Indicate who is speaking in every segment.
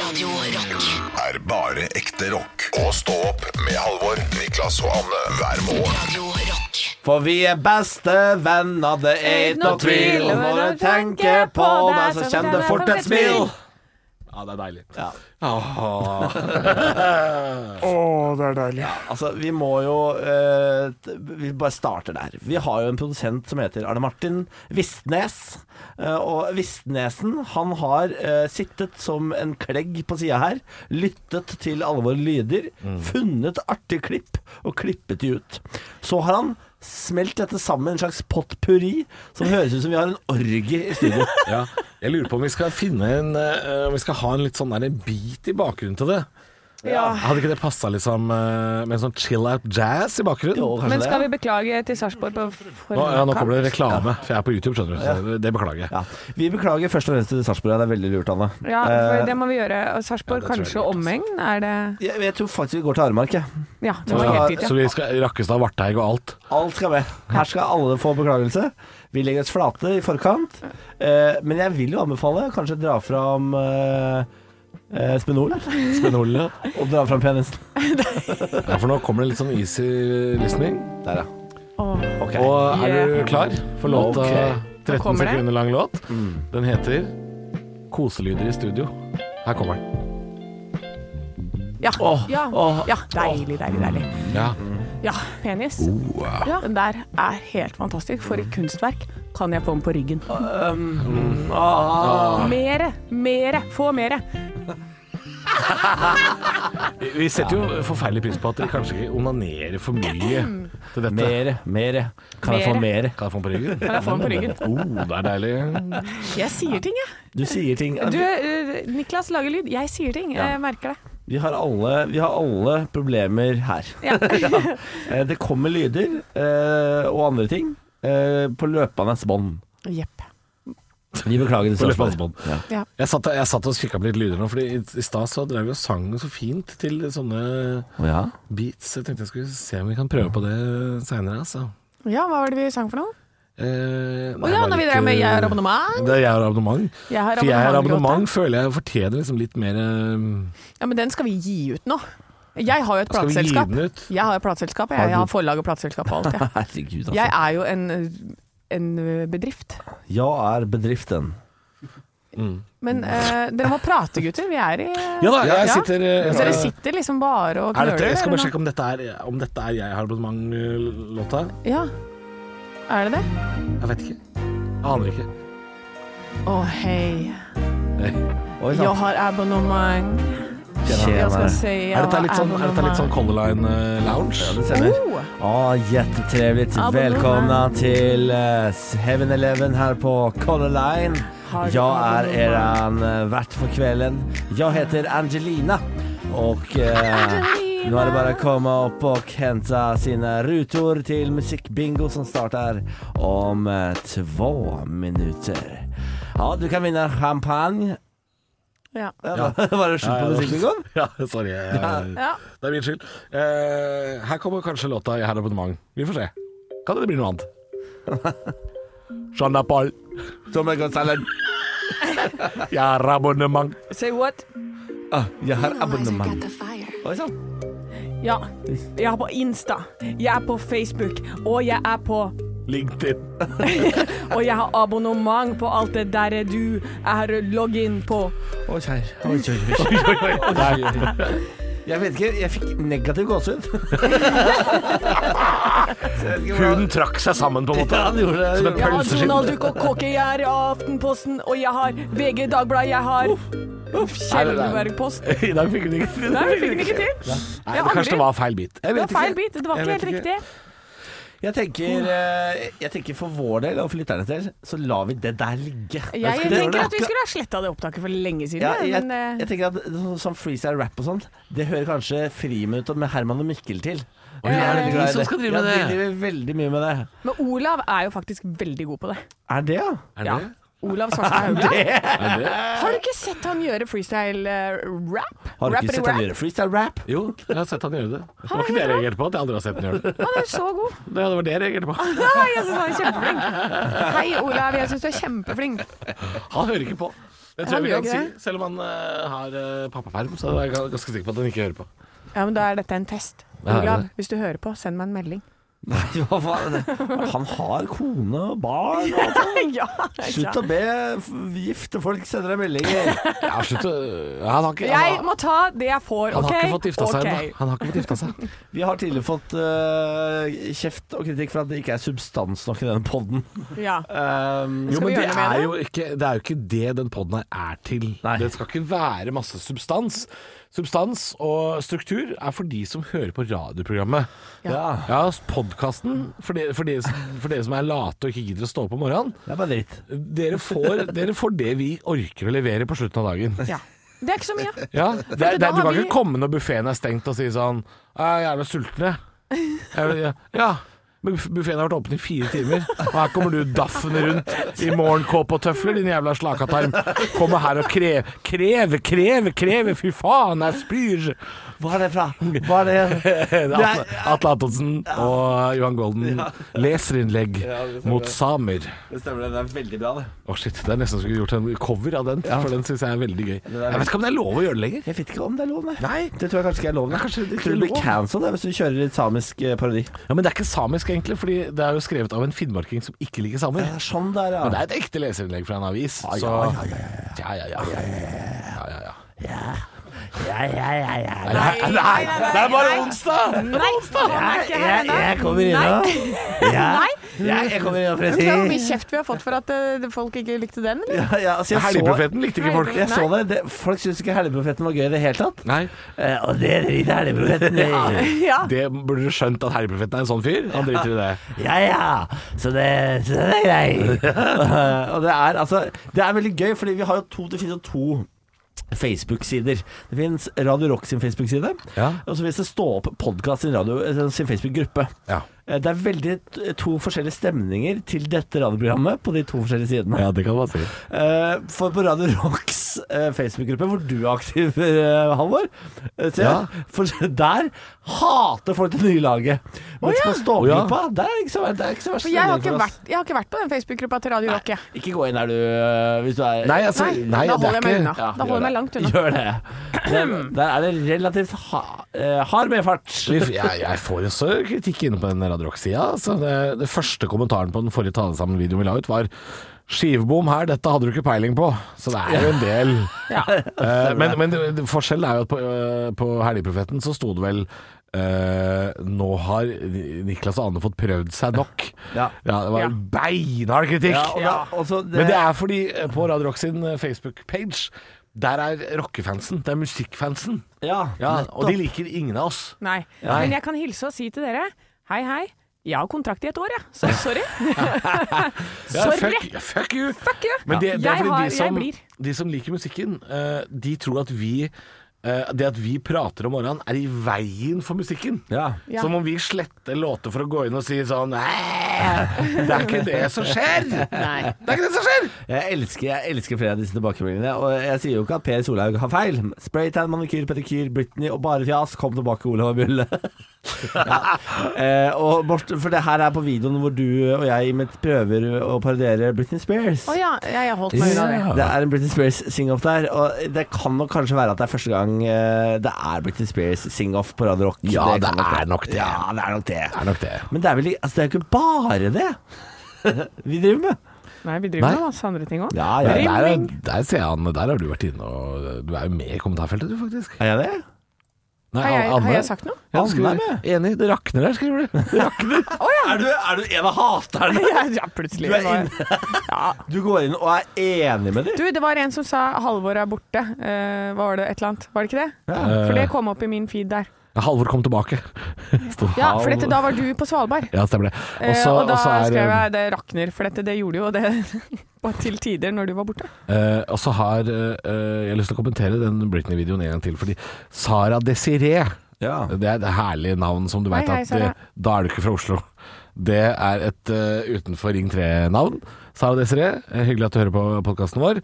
Speaker 1: Radio Rock.
Speaker 2: er bare ekte rock. Og stå opp med Halvor, Niklas og Anne hver morgen.
Speaker 1: Radio Rock.
Speaker 3: For vi er beste venner, det er ikke noe tvil. Og når jeg tenker på deg, så kjenner jeg fort et smil.
Speaker 4: Ja, det er deilig.
Speaker 3: Ja.
Speaker 4: Åh.
Speaker 3: Altså, vi må jo eh, t- Vi bare starter der. Vi har jo en produsent som heter Arne Martin Vistnes. eh, og Vistnesen, han har eh, sittet som en klegg på sida her, lyttet til alle våre lyder, funnet artige klipp og klippet de ut. Så har han smelt dette sammen, en slags potpurri, som høres ut som vi har en orgie i studio.
Speaker 4: Ja, jeg lurer på om vi skal finne en eh, Om vi skal ha en litt sånn der beat i bakgrunnen til det.
Speaker 5: Ja.
Speaker 4: Hadde ikke det passa liksom eh, med en sånn chill out jazz i bakgrunnen?
Speaker 3: Jo, kanskje
Speaker 5: Men
Speaker 3: det,
Speaker 5: skal
Speaker 3: ja.
Speaker 5: vi beklage til Sarpsborg på forhånd?
Speaker 4: Nå, ja, nå kommer det reklame, for jeg er på YouTube, skjønner du. Så det beklager jeg.
Speaker 3: Ja. Vi beklager først og fremst til Sarpsborg. Det er veldig lurt, Anne.
Speaker 5: Ja,
Speaker 3: Eh,
Speaker 5: for det må vi gjøre. Og Sarpsborg
Speaker 4: Ja, det tror jeg
Speaker 5: kanskje
Speaker 4: er lurt,
Speaker 5: omegn? Er det
Speaker 3: jeg, jeg tror faktisk vi går til Aremark. jeg.
Speaker 5: Ja, det var
Speaker 3: Ja,
Speaker 5: helt dit,
Speaker 4: Så
Speaker 5: ja.
Speaker 4: vi skal Rakkestad, Varteig og alt.
Speaker 3: Alt skal med. Her skal alle få beklagelse. Vi legger oss flate i forkant. Eh, men jeg vil jo anbefale kanskje dra fram eh, eh, Spenol eller?
Speaker 4: Spenolene.
Speaker 3: og dra fram pianisten.
Speaker 4: Ja, for nå kommer det litt sånn easy listening.
Speaker 3: Der, ja.
Speaker 5: Åh.
Speaker 3: Ok.
Speaker 4: Og er du klar for låta
Speaker 3: Ok.
Speaker 4: 13
Speaker 5: kommer det.
Speaker 4: sekunder lang låt? Den heter 'Koselyder i studio'. Her kommer den.
Speaker 5: Ja.
Speaker 3: Åh,
Speaker 5: ja.
Speaker 3: åh,
Speaker 5: ja. Deilig, deilig, deilig.
Speaker 4: Ja.
Speaker 5: Ja, penis. Ja, den der er helt fantastisk. For et kunstverk. Kan jeg få den på ryggen?
Speaker 4: mm.
Speaker 5: Mere! Mere! Få mere!
Speaker 4: Vi setter jo forferdelig pris på at dere kanskje ikke onanerer for mye til dette.
Speaker 3: Mere, mere. Kan jeg få mere?
Speaker 4: Kan jeg få den på ryggen?
Speaker 5: Kan jeg få den på ryggen?
Speaker 4: Oh, det er deilig.
Speaker 5: Jeg sier ting, jeg.
Speaker 3: Du sier ting
Speaker 5: Du, eh, Niklas lager lyd. Jeg sier ting. Jeg merker det.
Speaker 3: Vi har alle, vi har alle problemer her.
Speaker 5: Ja.
Speaker 3: Eh, det kommer lyder eh, og andre ting eh, på løpandes bånd.
Speaker 5: Jepp.
Speaker 3: Vi beklager det.
Speaker 4: På
Speaker 3: Sarpsborg.
Speaker 4: løpende bånd.
Speaker 3: Ja.
Speaker 5: Ja.
Speaker 4: Jeg satt, jeg satt og kikka på litt lyder nå, Fordi i, i stad så drev vi og sang så fint til sånne
Speaker 3: Ja.
Speaker 4: beats. Jeg tenkte jeg skulle se om vi kan prøve på det seinere, altså.
Speaker 5: ja, hva var det vi sang for noe?
Speaker 4: Eh,
Speaker 5: Å ja,
Speaker 4: jeg var
Speaker 5: når vi
Speaker 4: litt,
Speaker 5: drev med
Speaker 4: eh,
Speaker 5: Jeg har abonnement.
Speaker 4: Det er jeg har abonnement.
Speaker 5: Jeg har
Speaker 4: For jeg har
Speaker 5: abonnement-låta.
Speaker 4: abonnement føler jeg fortjener liksom litt mer eh,
Speaker 5: Ja, men den skal vi gi ut nå. Jeg har jo et
Speaker 4: Skal vi gi
Speaker 5: plateselskap.
Speaker 4: den ut?
Speaker 5: Jeg har et plateselskap,
Speaker 3: Har
Speaker 5: jeg,
Speaker 3: du-
Speaker 5: jeg har forlag og plateselskap og alt. Jeg,
Speaker 3: Herregud, altså.
Speaker 5: jeg er jo en, en eh, bedrift.
Speaker 3: Jeg er bedriften.
Speaker 5: Men eh, dere må prate, gutter. Vi er i
Speaker 4: Ja da, jeg sitter eh, jeg
Speaker 5: Så dere
Speaker 4: skal-
Speaker 5: sitter liksom bare og
Speaker 4: Er
Speaker 5: knøler?
Speaker 4: dette, jeg skal
Speaker 5: eller
Speaker 4: bare
Speaker 5: noe?
Speaker 4: sjekke om dette er, om dette er jeg har eh, abonnement-låta.
Speaker 5: Ja. Er det det?
Speaker 4: Jeg vet ikke. Jeg aner ikke.
Speaker 5: Å, hei.
Speaker 3: Oi, sant.
Speaker 5: Jeg har abonnement. Jeg skal si jeg
Speaker 4: Er dette
Speaker 5: har
Speaker 4: litt sånn, er dette litt sånn
Speaker 5: abonnement.
Speaker 4: Color Line eh, Lounge?
Speaker 3: Det stemmer.
Speaker 5: Oh,
Speaker 3: Å, Jättetrevligt.
Speaker 5: Abonnemang.
Speaker 3: Välkomna till eh, 7-Eleven här på Color Line.
Speaker 5: Har du
Speaker 3: Jag är
Speaker 5: abonnemang?
Speaker 3: eran eh, värd för kvällen. Jag heter Angelina och eh, nu är det bara att komma upp och hämta sina rutor till musikbingo som startar om eh, två minuter. Ja, du kan vinna champagne.
Speaker 5: ja.
Speaker 3: Ja. Var det sjukt
Speaker 4: Ja,
Speaker 3: sånn på
Speaker 4: ja.
Speaker 3: musikbingon?
Speaker 4: Ja, sorry. Jeg,
Speaker 5: Ja.
Speaker 4: Det er min skyld. Eh, her kommer kanskje låta 'Jeg har abonnement'. Vi får se. Kan det bli noe annet? Jean Paul,
Speaker 3: Som en gonsalad.
Speaker 4: jeg har abonnement.
Speaker 5: Say what?
Speaker 3: Ah, jag har sånn. abonnemang. Oj, sant.
Speaker 5: Ja. Jeg er på Insta. Jeg er på Facebook. Og jeg er på
Speaker 4: LinkedIn.
Speaker 5: Og jeg har abonnement på alt det der du er login på.
Speaker 3: Oi, kjær. Oi, oi, oi. Jeg vet ikke, jeg fikk negativ gåsehud.
Speaker 4: Huden trakk seg sammen, på en måte.
Speaker 3: Ja, den gjorde det.
Speaker 4: Som en
Speaker 5: Jeg har
Speaker 4: pølseskinn.
Speaker 5: Donald Duck og Kåke, jeg er i Aftenposten, og jeg har VG Dagbladet, jeg har Uff, Kjellerbergpost.
Speaker 4: I dag fikk hun ikke til
Speaker 5: Nei, vi fikk den ikke til.
Speaker 4: Nei,
Speaker 5: Jeg
Speaker 4: det kanskje
Speaker 5: angrer.
Speaker 4: det var feil bit.
Speaker 3: Eh,
Speaker 4: Jeg
Speaker 5: Det
Speaker 4: vet
Speaker 5: var feil
Speaker 4: ikke.
Speaker 5: bit. Det var ikke
Speaker 4: Jeg
Speaker 5: helt
Speaker 4: vet
Speaker 5: riktig.
Speaker 3: Jeg tenker, eh, jeg tenker for vår del og for lytternes del, så lar vi det der ligge.
Speaker 5: Jeg
Speaker 3: Det-
Speaker 5: tenker at vi skulle ha sletta det opptaket for lenge
Speaker 3: ja,
Speaker 5: siden,
Speaker 3: jeg,
Speaker 5: men
Speaker 3: jeg
Speaker 5: eh,
Speaker 3: tenker at så- Sånn freestyle rap og sånt, det hører kanskje friminuttet med Herman og Mikkel til.
Speaker 4: Oi, er det
Speaker 3: Veldig
Speaker 4: de
Speaker 3: glad i
Speaker 4: som skal drive
Speaker 3: ja,
Speaker 4: med det?
Speaker 3: De driver veldig mye med det.
Speaker 5: Men Olav er jo faktisk veldig god på det.
Speaker 3: Er det, ja?
Speaker 4: Er
Speaker 5: Ja.
Speaker 4: det?
Speaker 5: Olav Svarstad Haugland.
Speaker 4: Er det?
Speaker 5: Har du ikke sett han gjøre eh, freestyle-rap?
Speaker 3: Har du ikke sett han gjøre freestyle rap?
Speaker 4: Jo, jeg har sett han gjøre det. Det var ikke det jeg reagerte på, at jeg aldri har sett han gjøre det.
Speaker 5: Han er jo så god.
Speaker 4: Det var det jeg reagerte på.
Speaker 5: Nei, jeg syns han er kjempeflink. Hei, Olav. Jeg syns du er kjempeflink.
Speaker 4: Han hører ikke på. Det tror jeg
Speaker 5: Han
Speaker 4: vi kan
Speaker 5: gjør
Speaker 4: si.
Speaker 5: ikke
Speaker 4: Selv om han eh, har eh, pappaperm, så er jeg ga- ganske sikker på at han ikke hører på.
Speaker 5: Ja, men da er dette en test.
Speaker 4: Ja, det er
Speaker 5: Olav,
Speaker 4: det.
Speaker 5: hvis du hører på, send meg en melding.
Speaker 3: Nei, hva faen? er det? Han har kone og barn. og alt.
Speaker 5: ja,
Speaker 3: Slutt å be f- gifte folk sende deg meldinger.
Speaker 4: Ja, slutt å Han har ikke,
Speaker 5: Jeg
Speaker 4: han,
Speaker 5: må ta det jeg får,
Speaker 4: han
Speaker 5: OK?
Speaker 4: har ikke fått gifta seg
Speaker 5: Ok.
Speaker 4: ennå. Han har ikke fått gifta seg.
Speaker 3: Vi har tidligere fått eh, kjeft og kritikk for at det ikke er substans nok i denne poden.
Speaker 5: Ja.
Speaker 3: Um,
Speaker 4: Jo,
Speaker 5: Skal vi
Speaker 4: men det
Speaker 5: gjøre noe med
Speaker 4: er jo, ikke, det er jo ikke det den poden her er til.
Speaker 3: Nei.
Speaker 4: Det skal ikke være masse substans. Substans og struktur er for de som hører på radioprogrammet.
Speaker 3: ja.
Speaker 4: Ja, podkasten, for, de- for, de- for dere som er late og ikke gidder å stå opp om morgenen,
Speaker 3: Det er bare dritt.
Speaker 4: dere får, dere får det vi orker å levere på slutten av dagen.
Speaker 5: ja. Det er ikke så mye.
Speaker 4: Ja, det, er- det, er- du
Speaker 5: har
Speaker 4: kan
Speaker 5: vi-
Speaker 4: ikke komme når buffeen er stengt og si sånn «Jeg er jævla sulten, jeg». jeg. vil- ja, Ja, men buffeen har vært åpen i fire timer, og her kommer du daffende rundt i morgenkåpe og tøfler, din jævla slakatarm. Kommer her og krever, kreve, kreve, kreve, fy faen, jeg spyr.
Speaker 3: Hva er det fra? Hva er det?
Speaker 4: Det er Atle, Atle Antonsen og Johan Golden leserinnlegg mot samer.
Speaker 3: Det stemmer, det er veldig bra, det.
Speaker 4: Å shit, det er nesten som vi skulle gjort en cover av den, for den syns jeg er veldig gøy. Jeg vet ikke om det er lov å gjøre det lenger.
Speaker 3: Jeg vet ikke om det er lov, nei.
Speaker 4: Nei.
Speaker 3: Det tror jeg kanskje ikke er lov. Nei.
Speaker 4: Ja, kanskje det ikke
Speaker 3: tror du
Speaker 4: er
Speaker 3: blir
Speaker 4: lov.
Speaker 3: cancelled det, hvis du kjører litt samisk eh, parodi.
Speaker 4: Ja, Men det er ikke samisk, egentlig, fordi det er jo skrevet av en finnmarking som ikke liker samer.
Speaker 3: Det er sånn der, ja.
Speaker 4: Men det er et ekte leserinnlegg fra en avis, så Ja, ja, ja. ja, ja, ja.
Speaker 3: Ja, ja, ja, ja.
Speaker 4: Nei, nei,
Speaker 5: nei, nei,
Speaker 4: det er bare
Speaker 5: nei.
Speaker 4: onsdag!
Speaker 5: Nei, han er ikke her ennå.
Speaker 3: kommer
Speaker 5: Nei.
Speaker 3: Ja.
Speaker 5: Nei.
Speaker 3: Ja, jeg kommer innom, for jeg
Speaker 5: Vet du hvor
Speaker 3: sier
Speaker 5: mye kjeft vi har fått for at eh, folk ikke likte den? Eller?
Speaker 3: ja, ja, altså, jeg, så,
Speaker 4: Helgeprofeten likte ikke folk.
Speaker 3: jeg så det. det. Folk syns ikke Helligprofeten var gøy i det hele tatt.
Speaker 4: Nei,
Speaker 3: Eh, og det driter Helligprofeten i.
Speaker 5: Ja.
Speaker 4: Det burde du skjønt at Helgeprofeten er en sånn fyr. Han driter i det.
Speaker 3: Ja ja, så det, så det er greit. og det er altså Det er veldig gøy, fordi vi har jo to Det finnes jo to Facebook-sider. Det fins Radio Rock sin Facebook-side,
Speaker 4: Ja.
Speaker 3: og så finnes det Stå opp podkast sin, radio- eh, sin Facebook-gruppe.
Speaker 4: Ja.
Speaker 3: Eh, Det er veldig t- to forskjellige stemninger til dette radioprogrammet på de to forskjellige sidene.
Speaker 4: det kan man si.
Speaker 3: Eh, For på Radio Rocks eh, Facebook-gruppe, hvor du er aktiv, eh, Halvor, eh, ser
Speaker 4: Ja.
Speaker 3: jeg, for der hater folk det nye laget. Mens på Stå-gruppa, der er det ikke så, det er ikke så verst.
Speaker 5: For jeg har,
Speaker 3: stemning
Speaker 5: ikke
Speaker 3: for oss.
Speaker 5: vært, jeg har ikke vært på den Facebook-gruppa til Radio Rock, jeg.
Speaker 3: Ikke gå inn der du eh, Hvis du er
Speaker 4: Nei, altså,
Speaker 5: Nei,
Speaker 4: nei,
Speaker 5: da
Speaker 4: det
Speaker 5: holder
Speaker 4: er
Speaker 5: jeg meg
Speaker 4: ikke
Speaker 5: unna.
Speaker 3: Ja,
Speaker 5: da
Speaker 3: gjør
Speaker 5: holder jeg meg langt unna.
Speaker 3: Gjør det. Der, der er det relativt ha, eh, hard medfart.
Speaker 4: Vi- Jeg, jeg får også kritikk inne på den Radio Rock-sida. Altså, det, det første kommentaren på den forrige Talesammen-videoen vi la ut, var Skivebom her, dette hadde du ikke peiling på. Så det er jo en del. Eh, men men det- det- forskjellen er jo at på, uh, på Helligprofeten så sto det vel eh, nå har Ni- Niklas og Anne fått prøvd seg nok.
Speaker 3: Ja.
Speaker 4: det var
Speaker 5: Ja.
Speaker 4: beinhard kritikk.
Speaker 3: Ja, og da, og så det,
Speaker 4: Men det er fordi eh, på Radio Rock sin eh, Facebook-page, der er rockefansen, det er musikkfansen.
Speaker 3: ja,
Speaker 4: Ja, og de
Speaker 3: nettopp.
Speaker 4: liker ingen av oss.
Speaker 5: Nei.
Speaker 4: Nei.
Speaker 5: Men jeg kan hilse og si til dere hei, hei. Jeg har kontrakt i et år, jeg. Så sorry.
Speaker 4: Ja,
Speaker 5: Sorry.
Speaker 4: Fuck, ja, fuck you!
Speaker 5: Fuck you.
Speaker 4: Men det, det er
Speaker 5: jeg,
Speaker 4: fordi
Speaker 5: har,
Speaker 4: de som,
Speaker 5: jeg blir.
Speaker 4: de som liker musikken, eh, de tror at vi eh, det at vi prater om morgenen, er i veien for musikken.
Speaker 3: ja.
Speaker 5: Ja.
Speaker 4: Som om vi sletter låter for å gå inn og si sånn «Nei, Det er ikke det som skjer!
Speaker 5: Nei.
Speaker 4: Det er ikke det som skjer!
Speaker 3: Jeg elsker, jeg elsker flere av disse tilbakemeldingene. Og jeg sier jo ikke at Per Solhaug har feil. Spraytan, manikyr, pedikyr, Britney og bare fjas. Kom tilbake, Olav og Bulle. ja. eh, og Morten, for det her er på videoen hvor du og jeg imitt- prøver å parodiere Britney Spears.
Speaker 5: Å ja, jeg har holdt meg unna det.
Speaker 3: Det er en Britney Spears sing-off der, og det kan nok kanskje være at det er første gang eh, det er Britney Spears sing-off på Radio Rock.
Speaker 4: Ja, det
Speaker 3: kan
Speaker 4: er nok det.
Speaker 3: Ja, det er nok det.
Speaker 4: Det er nok det.
Speaker 3: Men det er vel i- altså, det er jo ikke bare det vi driver med.
Speaker 5: Nei, vi
Speaker 4: Nei.
Speaker 5: driver med masse andre ting òg.
Speaker 3: Ja,
Speaker 4: Der,
Speaker 3: ja, ja.
Speaker 4: der, er- der ser jeg han, der har du vært inne og Du er jo med i kommentarfeltet, du, faktisk.
Speaker 3: Er jeg det?
Speaker 4: Nei,
Speaker 5: Har, jeg-
Speaker 4: Anne-
Speaker 5: har jeg sagt noe?
Speaker 4: Ja, du
Speaker 3: Anne
Speaker 4: skriver-
Speaker 3: er med.
Speaker 4: Enig, det rakner der, skriver du. Det rakner.
Speaker 3: Er du, er du en av haterne?
Speaker 5: Ja, ja, plutselig.
Speaker 3: Du er
Speaker 5: var jeg- Ja.
Speaker 3: Du går inn og er enig med dem?
Speaker 5: Du, det var en som sa 'Halvor er borte'. Eh, var det et eller annet? Var det ikke det? For det kom opp i min feed der.
Speaker 4: Eh, Halvor kom tilbake. Stod-
Speaker 5: Ja, for dette, da var du på Svalbard.
Speaker 4: Ja, stemmer det.
Speaker 5: Eh,
Speaker 4: Også-
Speaker 5: og da
Speaker 4: også er-
Speaker 5: skrev jeg det rakner, for dette, det gjorde jo det bare til tider når du var borte.
Speaker 4: Eh, og så har eh, eh, jeg lyst til å kommentere den Britney-videoen en gang til. Fordi Sara Desiree,
Speaker 3: Ja.
Speaker 4: det er et herlig navn som du veit
Speaker 5: Hei, hei,
Speaker 4: at
Speaker 5: Sara.
Speaker 4: eh, Da er du ikke fra Oslo. Det er et eh, utenfor Ring 3-navn. Sara Desiree, eh, hyggelig at du hører på podkasten vår.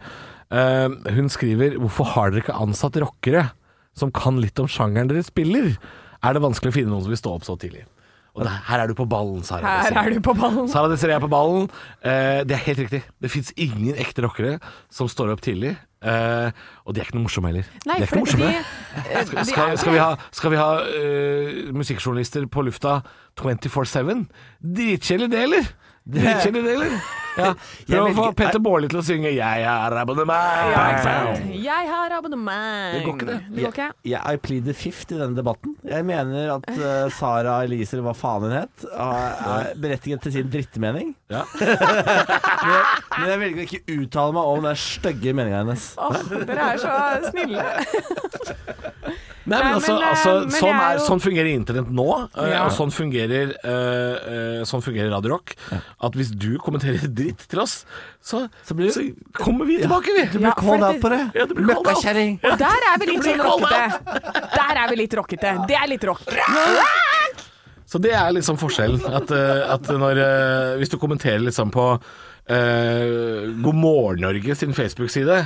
Speaker 4: Eh, hun skriver 'Hvorfor har dere ikke ansatt rockere som kan litt om sjangeren dere spiller?' Er det vanskelig å finne noen som vil stå opp så tidlig? Og det, her er du på ballen, Sara.
Speaker 5: Her
Speaker 4: Desiree.
Speaker 5: er du på ballen.
Speaker 4: Sara Desiree er på ballen. Eh, det er helt riktig. Det fins ingen ekte rockere som står opp tidlig Eh, og de er ikke noe morsomme heller.
Speaker 5: Nei,
Speaker 4: de er
Speaker 5: for det-
Speaker 4: ikke morsomme.
Speaker 5: de- eh, de er
Speaker 4: skal, skal,
Speaker 5: ikke
Speaker 4: skal vi
Speaker 5: det.
Speaker 4: ha, skal vi ha eh, musikkjournalister på lufta 24-7? Dritkjedelig det, eller? Dritkjedelig det, eller? Ja.
Speaker 3: Jeg
Speaker 4: Prøv å
Speaker 3: vil
Speaker 4: få
Speaker 3: ikke-
Speaker 4: Petter Baarli til å synge 'Jeg er abonnement'.
Speaker 5: Ja, ikke sant? Jeg har abonnement.
Speaker 4: Det går ikke, det.
Speaker 5: Det går ikke.
Speaker 3: Jeg, I plead the fifth i denne debatten. Jeg mener at eh, Sara Elise, eller hva faen hun het, er er berettiget til sin drittmening.
Speaker 4: Ja.
Speaker 3: Men jeg velger å ikke uttale meg om den stygge meninga hennes.
Speaker 5: Åh, dere er så snille.
Speaker 4: Nei, men
Speaker 5: Nei,
Speaker 4: altså,
Speaker 5: men, eh,
Speaker 4: altså
Speaker 5: men
Speaker 4: sånn,
Speaker 5: jeg er
Speaker 4: er,
Speaker 5: jo-
Speaker 4: sånn fungerer internett nå, eh,
Speaker 5: Ja.
Speaker 4: og sånn fungerer, eh, eh, sånn fungerer Radio Rock. At hvis du kommenterer dritt til oss, så,
Speaker 3: Så blir du-
Speaker 4: så kommer vi tilbake, vi.
Speaker 5: blir Ja, for
Speaker 3: Hold
Speaker 5: called det-
Speaker 3: out på det!
Speaker 4: Ja, det blir called out.
Speaker 3: Møkkakjerring!
Speaker 5: Og der er vi litt
Speaker 4: blir
Speaker 5: sånn rockete. Der er vi litt rockete. Det er litt rock.
Speaker 4: Så det er liksom forskjellen. At, eh, at når, eh, hvis du kommenterer liksom på eh, God morgen Norge sin Facebook-side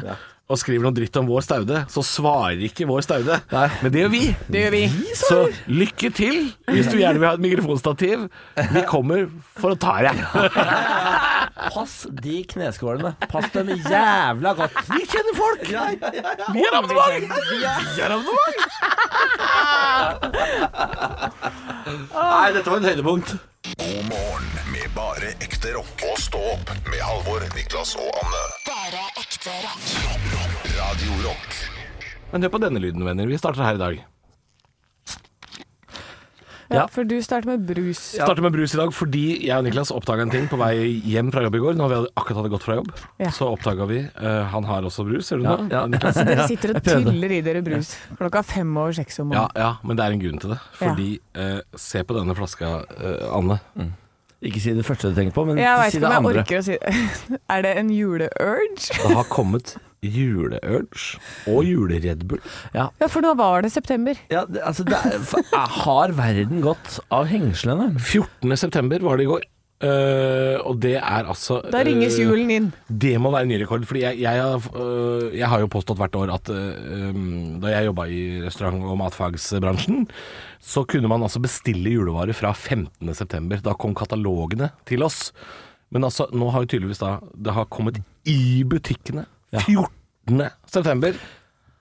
Speaker 4: og skriver noe dritt om vår staude, så svarer ikke vår staude.
Speaker 3: Nei.
Speaker 4: Men det gjør vi.
Speaker 5: Det gjør vi.
Speaker 4: Så lykke til hvis du gjerne vil ha et mikrofonstativ. Vi kommer for å ta deg.
Speaker 3: Pass de kneskålene. Pass dem jævla godt. Vi kjenner folk! Ja, ja, ja, ja.
Speaker 4: Vi er abonnement! Vi er abonnement!
Speaker 3: Nei, dette var et høydepunkt.
Speaker 2: God morgen med bare ekte rock. Og stå opp med Halvor, Niklas og Anne.
Speaker 1: Bare ekte rock.
Speaker 2: Radio Rock.
Speaker 4: Men hør på denne lyden, venner. Vi starter her i dag.
Speaker 5: Ja, for du starter med brus.
Speaker 4: Starter med brus i dag fordi jeg og Niklas oppdaga en ting på vei hjem fra jobb i går. Når vi hadde- akkurat hadde gått fra jobb,
Speaker 5: Ja.
Speaker 4: så oppdaga vi eh, Han har også brus, ser du nå?
Speaker 3: ja.
Speaker 4: Niklas?
Speaker 5: Dere sitter og tyller i dere brus klokka fem over seks om
Speaker 4: Ja,
Speaker 5: morgenen.
Speaker 4: ja, men det er en grunn til det. Fordi eh, Se på denne flaska, eh, Anne.
Speaker 3: Ikke si det første du tenker på, men
Speaker 5: Jeg veit
Speaker 3: si det
Speaker 5: ikke om jeg
Speaker 3: andre.
Speaker 5: orker å si det. Er det en juleurge?
Speaker 4: Det har kommet juleurge og jule-Red Bull.
Speaker 5: Ja, for nå var det september.
Speaker 3: Ja, det, altså, det er, f- har verden gått av hengslene?
Speaker 4: 14.9 var det i går. Eh, og det er altså
Speaker 5: Da ringes
Speaker 4: eh,
Speaker 5: julen inn.
Speaker 4: Det må være en ny rekord, fordi jeg, jeg, har, øh, jeg har jo påstått hvert år at øh, um, da jeg jobba i restaurant- og matfagsbransjen, så kunne man altså bestille julevarer fra 15.9. Da kom katalogene til oss. Men altså, nå har jo tydeligvis da det har kommet i butikkene 14.9.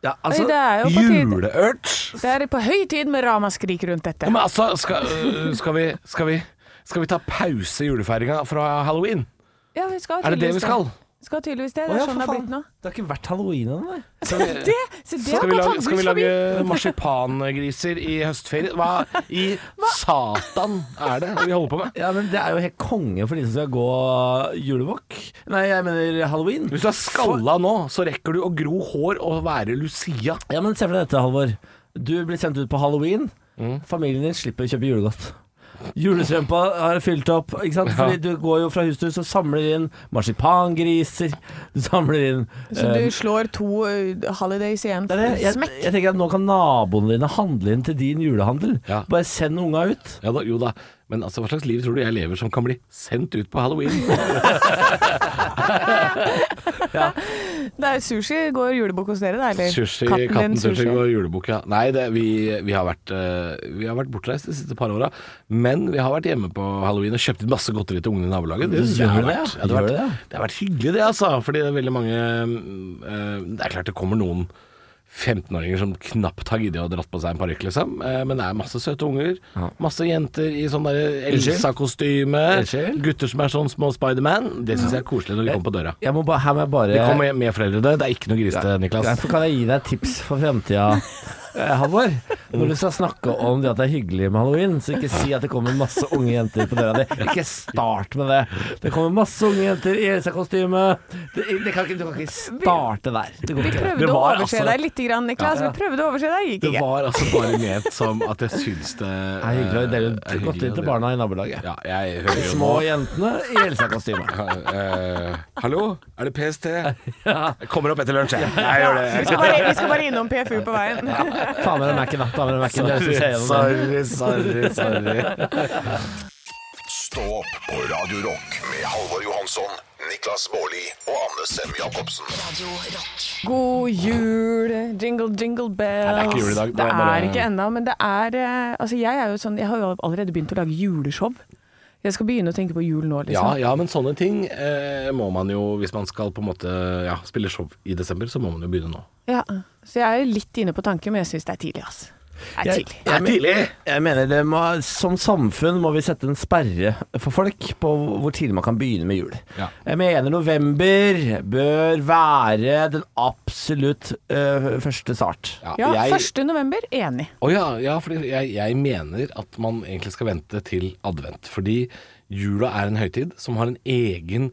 Speaker 3: Ja, altså-
Speaker 4: altså,
Speaker 5: Oi, det er jo på tide.
Speaker 4: Juleurt!
Speaker 5: Det er på høy tid med ramaskrik rundt dette.
Speaker 4: Ja, men altså, skal, øh, skal, vi, skal, vi, skal vi ta pause i julefeiringa fra halloween?
Speaker 5: Ja, vi skal
Speaker 4: Er det det vi
Speaker 5: tydeligvis
Speaker 4: skal?
Speaker 5: Vi skal tydeligvis det.
Speaker 3: Å
Speaker 5: Det
Speaker 3: ja,
Speaker 5: er sånn
Speaker 3: for
Speaker 5: det har
Speaker 3: faen.
Speaker 5: blitt nå.
Speaker 3: Det har ikke vært halloween ennå. nei.
Speaker 5: Det, så det har
Speaker 4: Skal vi
Speaker 5: gått
Speaker 4: lage, skal vi
Speaker 5: halvveis forbi.
Speaker 4: lage marsipangriser i høstferie? Hva i satan er det vi holder på med?
Speaker 3: Ja, men Det er jo helt konge for de som skal gå julewalk. Nei, jeg mener halloween.
Speaker 4: Hvis du er skalla nå, så rekker du å gro hår og være Lucia.
Speaker 3: Ja, men Se for deg dette, Halvor. Du blir sendt ut på halloween.
Speaker 4: Mm.
Speaker 3: Familien din slipper å kjøpe julegodt. Julestrømpa har fylt opp. Ikke sant? Fordi Du går jo fra hus til hus og samler inn marsipangriser. Du samler inn
Speaker 5: Så
Speaker 3: eh,
Speaker 5: du slår to eh, holidays igjen?
Speaker 3: det er det. Jeg,
Speaker 5: Smekk.
Speaker 3: jeg tenker at Nå kan naboene dine handle inn til din julehandel.
Speaker 4: Ja.
Speaker 3: Bare send unga ut.
Speaker 4: Ja da, jo da, men altså, hva slags liv tror du jeg lever som kan bli sendt ut på halloween?
Speaker 5: Det er sushi går julebukk hos dere, da? Eller
Speaker 4: Sushi, katten sushi og julebukk, ja. Nei, det, vi, vi, har vært, eh, vi har vært bortreist de siste par åra, men vi har vært hjemme på halloween og kjøpt inn masse godteri til ungene i nabolaget. Det,
Speaker 3: Du
Speaker 4: synes jeg har
Speaker 3: gjør det,
Speaker 4: vært-
Speaker 3: ja.
Speaker 4: ja, det, har
Speaker 3: Gjør
Speaker 4: vært,
Speaker 3: det, ja.
Speaker 4: det har vært hyggelig, det, altså. Fordi det er veldig mange eh, Det er klart det kommer noen 15-åringer som knapt har giddet å dratt på seg en parykk, liksom. Eh, men det er masse søte unger. Masse jenter i sånn derre
Speaker 3: Unnskyld?
Speaker 4: Elsa-kostyme.
Speaker 3: Unnskyld?
Speaker 4: Gutter som er sånn små Spiderman. Det syns jeg er koselig når de kommer på døra.
Speaker 3: Jeg må bare, her må jeg bare
Speaker 4: De kommer med foreldrene. Det er ikke noe grisete, eh, Niklas.
Speaker 3: Derfor kan jeg gi deg et tips for fremtida, eh, Halvor. Når du skal snakke om det at det er hyggelig med halloween, så ikke si at det kommer masse unge jenter på døra di. Ikke start med det. Det kommer masse unge jenter i Elsa-kostyme. Det, det kan ikke, du kan ikke starte der. Det går
Speaker 5: Vi
Speaker 3: ikke.
Speaker 5: prøvde
Speaker 4: Det
Speaker 5: å
Speaker 4: var
Speaker 5: overse
Speaker 4: altså-
Speaker 5: deg litt, grann, Niklas.
Speaker 3: Ja, ja.
Speaker 5: Vi prøvde å overse deg, gikk
Speaker 4: Det
Speaker 5: ikke.
Speaker 4: var altså bare ment som at jeg syns det eh,
Speaker 3: Det er hyggelig å dele
Speaker 4: er
Speaker 3: ut
Speaker 4: hyggelig
Speaker 3: godteri
Speaker 4: å
Speaker 3: til
Speaker 4: dele-
Speaker 3: barna i nabolaget.
Speaker 4: Ja, jeg hører
Speaker 3: De
Speaker 4: jo
Speaker 3: små
Speaker 4: nå
Speaker 3: jentene i Elsa-kostyme.
Speaker 4: Eh, Hallo, er det PST? Jeg kommer opp etter lunsj, jeg. Jeg gjør
Speaker 5: Vi
Speaker 4: det.
Speaker 5: skal, bare, vi skal bare innom PFU på veien.
Speaker 3: Ta med deg Mac-en, da. Ta med deg Mac-en. Det er det som ser gjennom den.
Speaker 4: Sorry, sorry, sorry.
Speaker 2: Stå opp på Radio Rock med Halvor Johansson, Niklas Baarli og Anne Sem Jacobsen.
Speaker 1: Radio rock.
Speaker 5: God jul, jingle jingle bells.
Speaker 4: Nei, det er ikke jul i dag, det
Speaker 5: Det
Speaker 4: er bare-
Speaker 5: er ikke ennå, men det er eh, Altså, jeg er jo sånn Jeg har jo allerede begynt å lage juleshow. Jeg skal begynne å tenke på jul nå,
Speaker 4: Ja,
Speaker 5: liksom.
Speaker 4: ja, men sånne ting eh, må man jo Hvis man skal på en måte ja, spille show i desember, så må man jo begynne nå.
Speaker 5: Ja. Så jeg er litt inne på tanken, men jeg syns det er tidlig, ass. Det er
Speaker 3: Jeg-
Speaker 5: tidlig.
Speaker 4: Det er tidlig!
Speaker 3: Jeg mener det må, Som samfunn må vi sette en sperre for folk på hvor tidlig man kan begynne med jul.
Speaker 4: Ja.
Speaker 3: Jeg mener november bør være den absolutt øh, første start.
Speaker 5: Ja,
Speaker 4: jeg,
Speaker 5: 1. november, enig.
Speaker 4: Å ja, ja, fordi jeg, jeg mener at man egentlig skal vente til advent. Fordi jula er en høytid som har en egen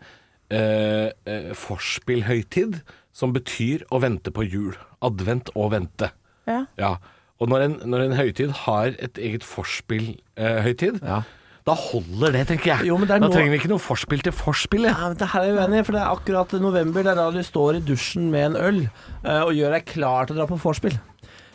Speaker 4: eh, eh, forspillhøytid som betyr å vente på jul. Advent og vente.
Speaker 5: Ja.
Speaker 4: Ja. Og når en, når en høytid har et eget forspillhøytid,
Speaker 3: Ja.
Speaker 4: da holder det, tenker jeg.
Speaker 3: Jo, men det er
Speaker 4: da
Speaker 3: nå-
Speaker 4: trenger vi ikke noe forspill til forspillet.
Speaker 3: Ja, men det her er jeg uenig i, for det er akkurat november. Det er da du står i dusjen med en øl øh, og gjør deg klar til å dra på vorspiel.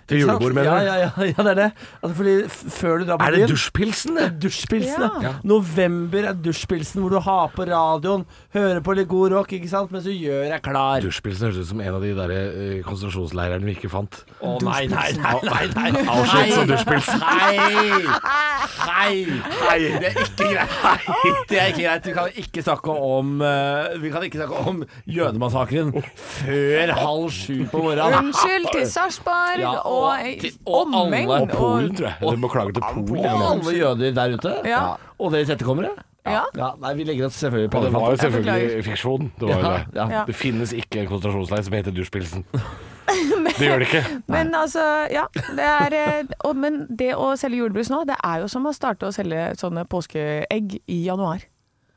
Speaker 4: Til julebord, mener
Speaker 3: ja,
Speaker 4: du?
Speaker 3: ja, ja, ja, det er det. Altså, fordi f- før du drar på
Speaker 4: Er det
Speaker 3: byen-
Speaker 4: dusjpilsen,
Speaker 3: Det
Speaker 4: det?
Speaker 3: er dusjpilsen,
Speaker 5: Ja.
Speaker 3: ja. November er dusjpilsen hvor du har på radioen, hører på litt god rock, ikke sant, mens du gjør deg klar.
Speaker 4: Dusjpilsen høres ut som en av de der eh, konsentrasjonsleirene vi ikke fant.
Speaker 3: Å nei, nei, nei, nei, nei.
Speaker 4: Auschwitz og
Speaker 3: Nei.
Speaker 4: dusjpils.
Speaker 3: Nei! Nei! Det er ikke greit. Det er ikke greit. Vi kan ikke snakke om eh, Vi kan ikke snakke om jødemassakren før halv sju på morgenen.
Speaker 5: Unnskyld til Sarpsborg
Speaker 3: Ja, og
Speaker 5: og,
Speaker 3: til- og
Speaker 5: og
Speaker 3: alle
Speaker 5: omegn.
Speaker 3: på
Speaker 5: Og
Speaker 4: Polen, tror jeg. Eller beklager til
Speaker 2: Polen,
Speaker 4: Polen.
Speaker 3: Og alle jøder der ute.
Speaker 5: Ja.
Speaker 3: Og deres etterkommere.
Speaker 5: Ja.
Speaker 3: Nei, vi legger oss selvfølgelig på
Speaker 4: Det var jo
Speaker 3: alle.
Speaker 4: selvfølgelig fiksjon. Det, var jo
Speaker 3: Ja,
Speaker 4: det.
Speaker 3: ja.
Speaker 4: det finnes ikke en konsentrasjonsleir som heter Dusjpilsen. Det gjør det ikke.
Speaker 5: Men altså, ja. Det er, eh, og, men det å selge julebrus nå, det er jo som å starte å selge sånne påskeegg i januar.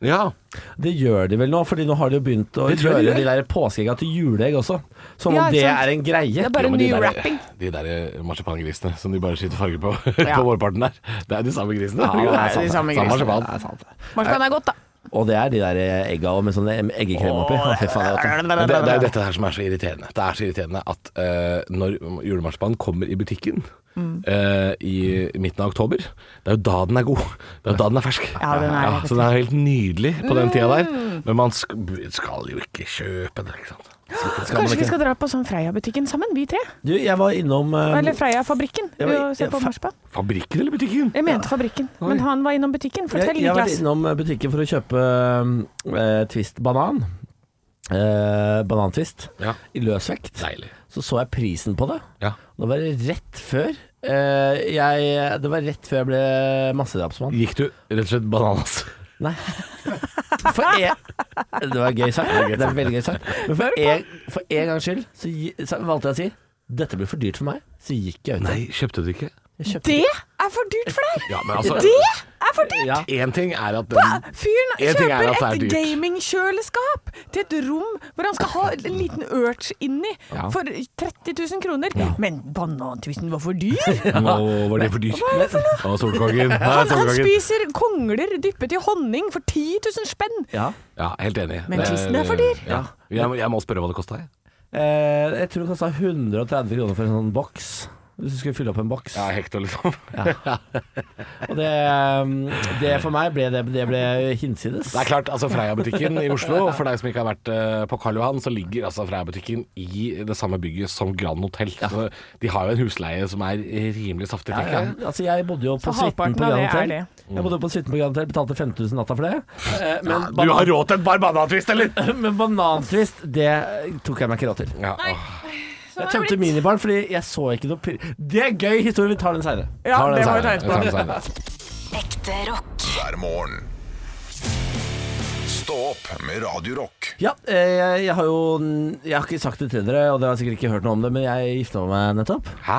Speaker 4: Ja.
Speaker 3: Det gjør de vel nå, Fordi nå har de jo begynt å
Speaker 4: Det tror
Speaker 3: gjøre
Speaker 4: jeg de
Speaker 3: de der påskeegga til juleegg også. Som om
Speaker 5: Ja, ikke
Speaker 3: det
Speaker 5: sant?
Speaker 3: er en greie.
Speaker 5: Det er bare
Speaker 4: men
Speaker 5: ny
Speaker 4: de der-
Speaker 5: wrapping.
Speaker 4: De der marsipangrisene som de bare skyter farge på
Speaker 5: Ja.
Speaker 4: på vårparten der. Det er de samme grisene.
Speaker 3: Ja, det er
Speaker 4: Samme-
Speaker 3: de samme
Speaker 4: samme
Speaker 3: grisene.
Speaker 4: marsipan.
Speaker 3: Det er sant.
Speaker 5: Marsipan er godt, da.
Speaker 3: Og det er de der eh, egga også, med sånne eggekrem oppi. Å, fy faen, det er godt.
Speaker 4: Men Det, det er jo dette her som er så irriterende. Det er så irriterende at eh, når julemarsipan kommer i butikken eh, i midten av oktober, det er jo da den er god. Det er jo da den er fersk.
Speaker 5: Ja, den er helt
Speaker 4: så den er helt nydelig på den tida der. Men man sk skal jo ikke kjøpe det, ikke sant.
Speaker 5: Kanskje vi skal dra på sånn Freia-butikken sammen, vi tre?
Speaker 3: Du, jeg var innom eh,
Speaker 5: Eller Freia-fabrikken.
Speaker 3: Ja, men-
Speaker 5: og Se på
Speaker 3: ja, fa-
Speaker 5: marsipan.
Speaker 4: Fabrikken eller butikken?
Speaker 5: Jeg mente fabrikken, men han var innom butikken.
Speaker 3: jeg,
Speaker 5: Fortell,
Speaker 3: jeg har vært
Speaker 5: Niklas.
Speaker 3: innom butikken for å kjøpe eh, Twist banan. Eh, banantwist
Speaker 4: Ja.
Speaker 3: i løsvekt.
Speaker 4: Deilig.
Speaker 3: Så så jeg prisen på det.
Speaker 4: Ja.
Speaker 3: Det var rett før eh, jeg Det var rett før jeg ble massedrapsmann.
Speaker 4: Gikk du rett og slett bananas?
Speaker 3: Nei. For en, det var gøy sagt. Det er veldig gøy sagt. Men for en, for en gangs skyld så, gi- så valgte jeg å si dette blir for dyrt for meg, så gikk jeg ut.
Speaker 4: Nei, kjøpte du ikke?
Speaker 5: Det er for dyrt for deg!
Speaker 4: Ja, men altså
Speaker 5: Det er for dyrt!
Speaker 3: Ja.
Speaker 4: Én ting er at den
Speaker 5: Fyren
Speaker 4: En ting
Speaker 5: kjøper
Speaker 4: er at det er
Speaker 5: et
Speaker 4: dyrt.
Speaker 5: gamingkjøleskap til et rom hvor han skal ha en liten urge inni
Speaker 4: Ja.
Speaker 5: for 30 000 kroner. Men banantvisten var for dyr!
Speaker 4: Nå var det for dyrt. Hva er det for noe? Å, solkongen. Nei,
Speaker 5: Han, han
Speaker 4: solkongen.
Speaker 5: spiser kongler dyppet i honning for 10 000 spenn!
Speaker 3: Ja.
Speaker 4: Ja, helt enig.
Speaker 5: Men
Speaker 4: Det
Speaker 5: tissen er for dyr.
Speaker 4: Ja. Jeg, må- jeg må spørre hva det kosta, jeg.
Speaker 3: Eh, jeg tror det kosta 130 kroner for en sånn boks. Hvis du skulle fylle opp en boks.
Speaker 4: Ja, hekto, liksom.
Speaker 3: Og det, mm, det for meg ble det, det ble hinsides.
Speaker 4: Det er klart, altså Freia-butikken i Oslo, for deg som ikke har vært eh, på Karl Johan, så ligger altså Freia-butikken i det samme bygget som Grand Hotell. Så de har jo en husleie som er rimelig saftig,
Speaker 3: Ja,
Speaker 4: tenker
Speaker 3: ja.
Speaker 4: jeg.
Speaker 3: Altså, jeg bodde jo på
Speaker 5: Så
Speaker 3: suiten
Speaker 5: halvparten
Speaker 3: på Grand
Speaker 5: av det er
Speaker 3: Hotel. Jeg bodde på suiten på Grand Hotel, betalte 5000 natta for det. Eh, Men,
Speaker 4: Ah, Du
Speaker 3: banan-
Speaker 4: har råd til et par banantvist, eller?
Speaker 3: men banantvist, det tok jeg meg ikke råd til.
Speaker 4: Ja, åh.
Speaker 3: Jeg tømte minibaren fordi jeg så ikke noe pir... Det er gøy historie, vi tar den seinere.
Speaker 5: Ja,
Speaker 4: Tar den
Speaker 5: det må vi ta etterpå.
Speaker 4: senere. Vi tar den senere.
Speaker 1: Ekte rock.
Speaker 2: hver morgen. Stå opp med Radio Rock.
Speaker 3: Ja, eh, jeg, jeg har jo Jeg har ikke sagt det til dere, og dere har sikkert ikke hørt noe om det, men jeg gifta meg nettopp.
Speaker 4: Hæ?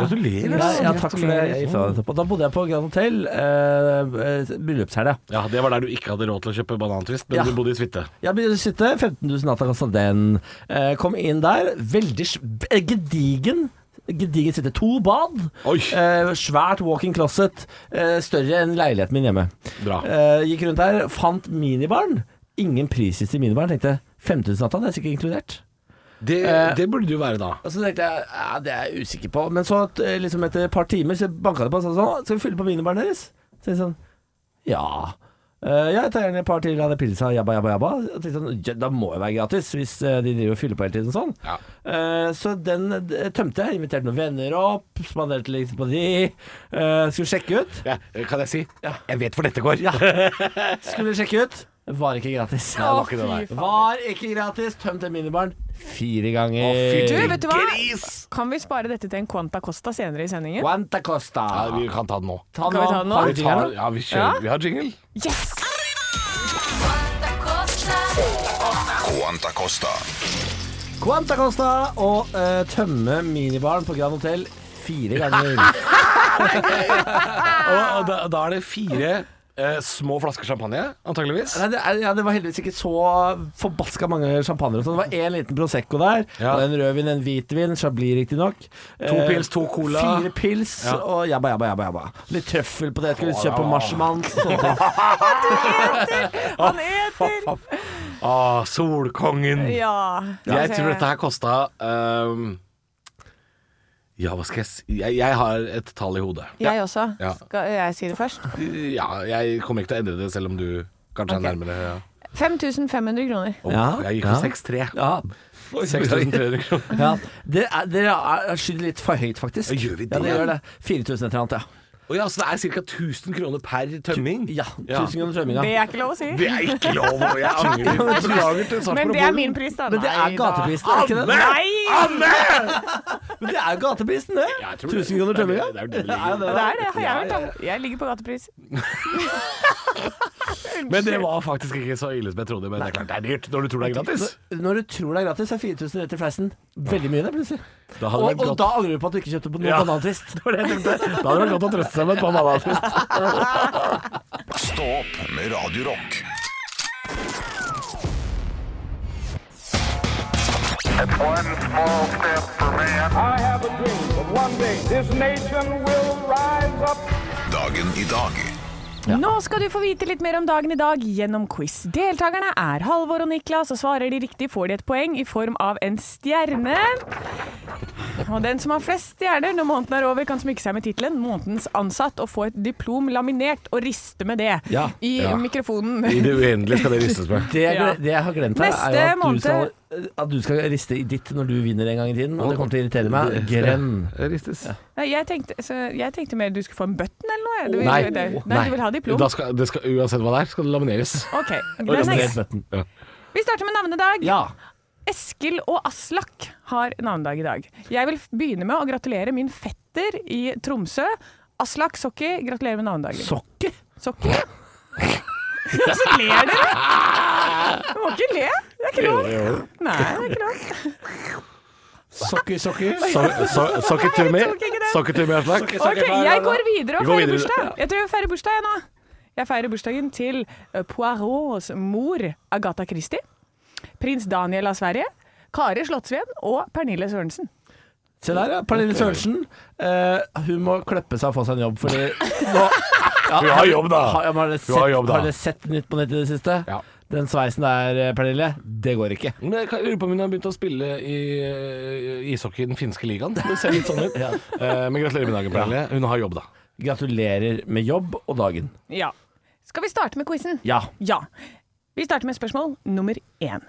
Speaker 4: Gratulerer.
Speaker 3: Ja,
Speaker 4: altså.
Speaker 3: ja, takk for det. Jeg gifta meg nettopp. Og da bodde jeg på Grand Hotel, eh, eh, bryllupshelga.
Speaker 4: Ja, det var der du ikke hadde råd til å kjøpe banantvist, men
Speaker 3: Ja.
Speaker 4: du bodde i suite.
Speaker 3: Jeg begynte å sitte, 15 000 natta kosta altså den. Eh, kom inn der, veldig s- eh, gedigen. Gedigen sitte. To bad.
Speaker 4: Oi.
Speaker 3: Eh, svært walk-in closet. Eh, større enn leiligheten min hjemme.
Speaker 4: Bra.
Speaker 3: Eh, gikk rundt der, fant minibaren. Ingen prisliste i minibaren. Tenkte 5000 natta, det er sikkert inkludert.
Speaker 4: Det, Eh, det burde du være da.
Speaker 3: Og så tenkte jeg ja, det er jeg usikker på. Men så eh, liksom etter et par timer så banka det på og sa sånn Skal vi fylle på minibaren deres? Så jeg sånn Ja. Eh, ja, jeg tar gjerne et par til av det pilsa, jabba, jabba, jabba. Jeg tenkte sånn, ja, da må det være gratis, hvis eh, de driver og fyller på hele tiden sånn.
Speaker 4: Ja.
Speaker 3: Eh, så den eh, tømte jeg, inviterte noen venner opp, spanderte litt på de, eh, skulle sjekke ut.
Speaker 4: Ja, eh, kan jeg si? Jeg vet hvor dette går.
Speaker 3: Ja. Skulle sjekke ut, var ikke gratis.
Speaker 4: det var ikke det der.
Speaker 5: Å, fy faen.
Speaker 3: Var ikke gratis, tømte minibaren fire ganger.
Speaker 5: Du, vet du hva?
Speaker 4: Gris!
Speaker 5: Kan vi spare dette til en Quanta Costa senere i sendingen?
Speaker 3: Quanta costa?
Speaker 4: Ja, vi kan ta den nå.
Speaker 3: Ta
Speaker 5: Kan vi ta den nå?
Speaker 3: Har
Speaker 4: Vi,
Speaker 3: du
Speaker 4: tar,
Speaker 3: jingle?
Speaker 4: ja, vi,
Speaker 5: Ja.
Speaker 4: kjører, vi har jingle.
Speaker 5: Yes!
Speaker 2: Quanta Costa.
Speaker 3: Quanta Costa og eh, tømme minibaren på Grand Hotel fire ganger.
Speaker 4: Og, og da, da er det fire eh, små flasker champagne, antageligvis.
Speaker 3: Nei, det, er, ja, det var heldigvis ikke så forbaska mange champagnere. og sånn. Det var én liten Prosecco der,
Speaker 4: Ja.
Speaker 3: og en rødvin, en hvitvin, Chablis riktignok. To
Speaker 4: pils, to cola.
Speaker 3: Eh, Fire pils
Speaker 4: Ja.
Speaker 3: og jabba, jabba, jabba, jabba. Litt trøffel på det, skal vi kjøpe sånn. marsiman og sånne ting.
Speaker 5: Han eter!
Speaker 4: Ah, solkongen.
Speaker 5: Ja.
Speaker 4: Jeg tror dette her kosta ehm, Ja, hva skal jeg si jeg, jeg har et tall i hodet.
Speaker 5: Jeg også.
Speaker 4: Ja.
Speaker 5: Skal jeg si det først?
Speaker 4: Ja, jeg kommer ikke til å endre det, selv om du kanskje
Speaker 5: Ok.
Speaker 4: er nærmere. Ja.
Speaker 5: 5500 kroner.
Speaker 4: Oh,
Speaker 3: Ja,
Speaker 4: Jeg gikk
Speaker 3: ja.
Speaker 4: for 6-3.
Speaker 3: Ja.
Speaker 4: 6300 kroner.
Speaker 3: Ja, Dere er- dere er- skyter litt for høyt, faktisk.
Speaker 4: Ja, gjør vi det?
Speaker 3: Ja, dere gjør det. 4000 et eller annet, ja.
Speaker 4: Å ja, så det er ca. 1000 kroner per tømming?
Speaker 3: Ja, 1000 kroner tømminga.
Speaker 5: Det er ikke lov å si.
Speaker 4: Det er ikke lov, og jeg angrer. Beklager til Sarpsborg
Speaker 5: Men det er
Speaker 4: Bonden.
Speaker 5: min pris, da.
Speaker 3: Men det
Speaker 5: Nei
Speaker 3: er
Speaker 5: da.
Speaker 3: gatepris, det er ikke det?
Speaker 5: Nei!
Speaker 3: Men det er jo gateprisen, det.
Speaker 4: Ja, jeg tror det.
Speaker 3: 1000 kroner
Speaker 4: Det er det-
Speaker 3: tømminga.
Speaker 4: det er jo det det ligger i.
Speaker 5: Ja, Det er det, har jeg hørt. da. Jeg ligger på gatepris.
Speaker 4: Men det var faktisk ikke så ille som jeg trodde. Men det er klart det er dyrt når du tror det er gratis.
Speaker 3: Når- Når du tror det er gratis, er 4000 rett i fleisen veldig mye, det, plutselig.
Speaker 4: Da hadde
Speaker 3: Og,
Speaker 4: det vært
Speaker 3: og
Speaker 4: godt.
Speaker 3: da angrer du på at du ikke kjøpte på noe
Speaker 4: Ja.
Speaker 3: banantvist.
Speaker 4: Det var det jeg tenkte. Da hadde det vært godt å trøste seg med et par bananer.
Speaker 2: Stå opp med Radio Rock.
Speaker 6: One small step for man.
Speaker 7: I have a dream that one day this nation will rise up.
Speaker 2: Dagen i dag
Speaker 5: Nå skal du få vite litt mer om dagen i dag gjennom quiz. Deltakerne er Halvor og Niklas, og svarer de riktig får de et poeng i form av en stjerne. Og den som har flest stjerner når måneden er over, kan smykke seg med tittelen 'Månedens ansatt' og få et diplom laminert og riste med det
Speaker 3: Ja.
Speaker 5: i
Speaker 4: Ja.
Speaker 5: mikrofonen.
Speaker 4: I det uendelige skal det ristes med.
Speaker 3: Det jeg,
Speaker 5: Ja.
Speaker 3: gle- det jeg har glemt her,
Speaker 5: Neste
Speaker 3: er jo at du,
Speaker 5: måned-
Speaker 3: skal, at du skal riste i ditt når du vinner en gang i tiden. Og det kommer til å irritere meg. Grønn.
Speaker 4: Det ristes.
Speaker 5: Nei, jeg, tenkte, så jeg tenkte mer du skulle få en button eller noe. jeg. Du,
Speaker 4: Nei.
Speaker 5: du, du, nei, du vil ha diplom.
Speaker 4: Da skal, det skal, uansett hva det er, skal det lamineres.
Speaker 5: Ok,
Speaker 4: Og
Speaker 5: det er
Speaker 4: laminert
Speaker 5: nice.
Speaker 4: button. Ja.
Speaker 5: Vi starter med navnedag.
Speaker 3: Ja.
Speaker 5: Eskil og Aslak har navnedag i dag. Jeg vil f- begynne med å gratulere min fetter i Tromsø. Aslak Sokki, gratulerer med navnedagen.
Speaker 3: Sokke?
Speaker 5: Sokki? Og så ler dere! Du må ikke le. Det er ikke lov. Nei, det er ikke lov.
Speaker 3: Sokke, sokke.
Speaker 4: So, so, socket to
Speaker 5: Nei,
Speaker 4: me.
Speaker 5: jeg tok ikke det.
Speaker 4: Socket to me, Aslak.
Speaker 5: Ok, jeg går videre
Speaker 4: Vi
Speaker 5: og feirer
Speaker 4: går videre.
Speaker 5: bursdag. Jeg tror jeg feirer bursdag jeg nå. Jeg feirer bursdagen til eh, Poirots mor, Agatha Christie, prins Daniel av Sverige, Kari Slottsveen og Pernille Sørensen.
Speaker 3: Se der, ja. Pernille Sørensen. Eh, hun må klippe seg og få seg en jobb, fordi nå ja,
Speaker 4: Hun har jobb, da.
Speaker 3: Ah, Har, ja, men har, dere
Speaker 4: Hun har
Speaker 3: sett-
Speaker 4: jobb, da.
Speaker 3: har dere sett Nytt på Nytt i det siste?
Speaker 4: Ja.
Speaker 3: Den sveisen der, eh, Pernille, det går ikke.
Speaker 4: Men jeg kan- lurer på om hun har begynt å spille i eh, ishockey i den finske ligaen. Det ser litt sånn ut. Eh, Men gratulerer med dagen, Pernille. Hun har jobb, da.
Speaker 3: Gratulerer med jobb og dagen.
Speaker 5: Ja. Skal vi starte med quizen?
Speaker 3: Ja.
Speaker 5: Ja. Vi starter med spørsmål nummer én.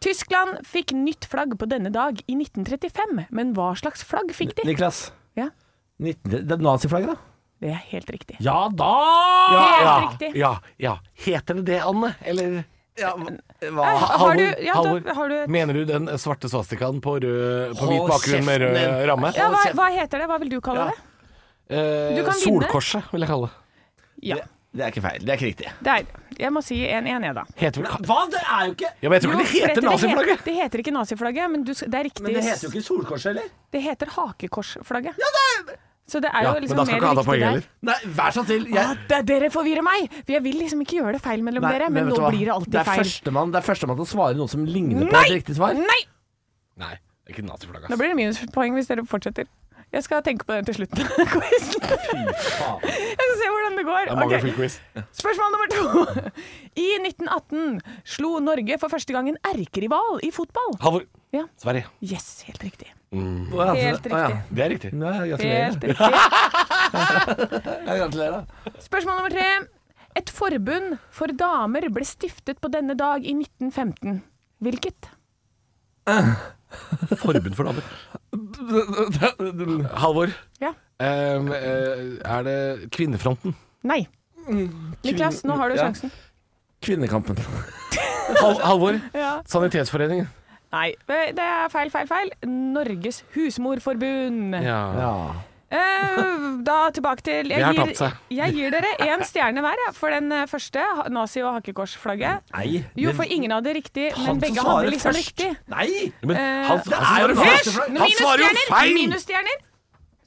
Speaker 5: Tyskland fikk nytt flagg på denne dag i 1935, men hva slags flagg fikk de?
Speaker 3: Niklas.
Speaker 5: Ja,
Speaker 3: 19, det er naziflagget, da.
Speaker 5: Det er helt riktig.
Speaker 3: Ja da!
Speaker 5: Helt
Speaker 4: ja,
Speaker 5: riktig.
Speaker 4: ja, ja. Heter det det, Anne? Eller
Speaker 3: Ah,
Speaker 5: Eh, Har du,
Speaker 4: Halvor,
Speaker 5: ja,
Speaker 4: Halvor,
Speaker 5: da, har du
Speaker 4: Mener du den svarte svastikaen på, rød, på hvit
Speaker 3: Hold
Speaker 4: bakgrunn med
Speaker 3: kjeften
Speaker 4: rød
Speaker 3: din.
Speaker 4: ramme?
Speaker 5: ja, hva, hva heter det? Hva vil du kalle
Speaker 4: Ja.
Speaker 5: det?
Speaker 4: Eh,
Speaker 5: Du kan vinne.
Speaker 4: Solkorset, vil jeg kalle det.
Speaker 5: Ja.
Speaker 3: Det er ikke feil. Det er ikke riktig.
Speaker 5: Der. Jeg må si en 1 jeg, da.
Speaker 4: Heter vel ka-
Speaker 3: Hva? Det er jo ikke
Speaker 4: Ja, men jeg tror ikke
Speaker 5: Jo,
Speaker 4: det
Speaker 5: Fredrik,
Speaker 4: heter naziflagget!
Speaker 5: Det heter ikke naziflagget, men du, s- det er riktig.
Speaker 3: ikke solkorset heller.
Speaker 5: Det heter hakekorsflagget. Så det er jo
Speaker 4: Ja, men
Speaker 5: liksom
Speaker 4: da
Speaker 5: mer
Speaker 4: skal ikke Ada
Speaker 5: riktig
Speaker 4: poeng
Speaker 5: der.
Speaker 4: heller.
Speaker 3: Nei, vær så snill.
Speaker 5: Ah, det, dere forvirrer meg! For jeg vil liksom ikke gjøre det feil mellom dere, men, nå blir det alltid
Speaker 3: det er
Speaker 5: feil.
Speaker 3: Førstemann, det er førstemann til å svare noe som ligner på
Speaker 5: Nei!
Speaker 3: et riktig svar.
Speaker 5: Nei!
Speaker 4: Nei, det er ikke naziflagget.
Speaker 5: Da
Speaker 4: ass.
Speaker 5: blir det minuspoeng hvis dere fortsetter. Jeg skal tenke på den til slutten av quizen. Jeg skal se hvordan det går.
Speaker 4: Det er mange
Speaker 5: Ok,
Speaker 4: full quiz.
Speaker 5: Spørsmål nummer to. I 1918 slo Norge for første gang en erkerival i fotball.
Speaker 4: Halvor.
Speaker 5: Ja.
Speaker 4: Sverige.
Speaker 5: Yes, helt riktig.
Speaker 3: Å, ja,
Speaker 5: Helt
Speaker 3: så- å, ja.
Speaker 5: riktig.
Speaker 4: Det er riktig.
Speaker 3: Nei, gratulerer.
Speaker 5: Helt riktig.
Speaker 3: Ja, gratulerer.
Speaker 5: Spørsmål nummer tre. Et forbund for damer ble stiftet på denne dag i 1915. Hvilket?
Speaker 8: Forbund for damer. Halvor,
Speaker 5: Ja.
Speaker 4: Ehm, eh, er det Kvinnefronten?
Speaker 5: Nei.
Speaker 4: Mm.
Speaker 5: Niklas, nå har du sjansen.
Speaker 3: Kvinnekampen.
Speaker 4: Hal Halvor?
Speaker 5: Ja.
Speaker 4: Sanitetsforeningen.
Speaker 5: Nei, det er feil, feil, feil. Norges husmorforbund.
Speaker 4: Ja.
Speaker 5: Eh, da tilbake til
Speaker 4: Det har
Speaker 5: jeg
Speaker 4: tapt seg.
Speaker 5: gir, jeg gir dere én stjerne hver ja, for den eh, første, ha- nazi- og hakekorsflagget.
Speaker 3: Nei.
Speaker 5: Jo,
Speaker 3: det-
Speaker 5: for ingen hadde riktig,
Speaker 3: han
Speaker 5: men begge
Speaker 3: som
Speaker 5: hadde
Speaker 3: svarer
Speaker 5: liksom
Speaker 3: først.
Speaker 5: riktig.
Speaker 3: Nei!
Speaker 8: Men
Speaker 5: Eh.
Speaker 8: han,
Speaker 3: Det
Speaker 8: han svarer
Speaker 3: er jo
Speaker 8: feil!
Speaker 3: først!
Speaker 5: Men
Speaker 4: Han svarer jo
Speaker 5: minusstjerner!
Speaker 4: feil!
Speaker 5: Minusstjerner!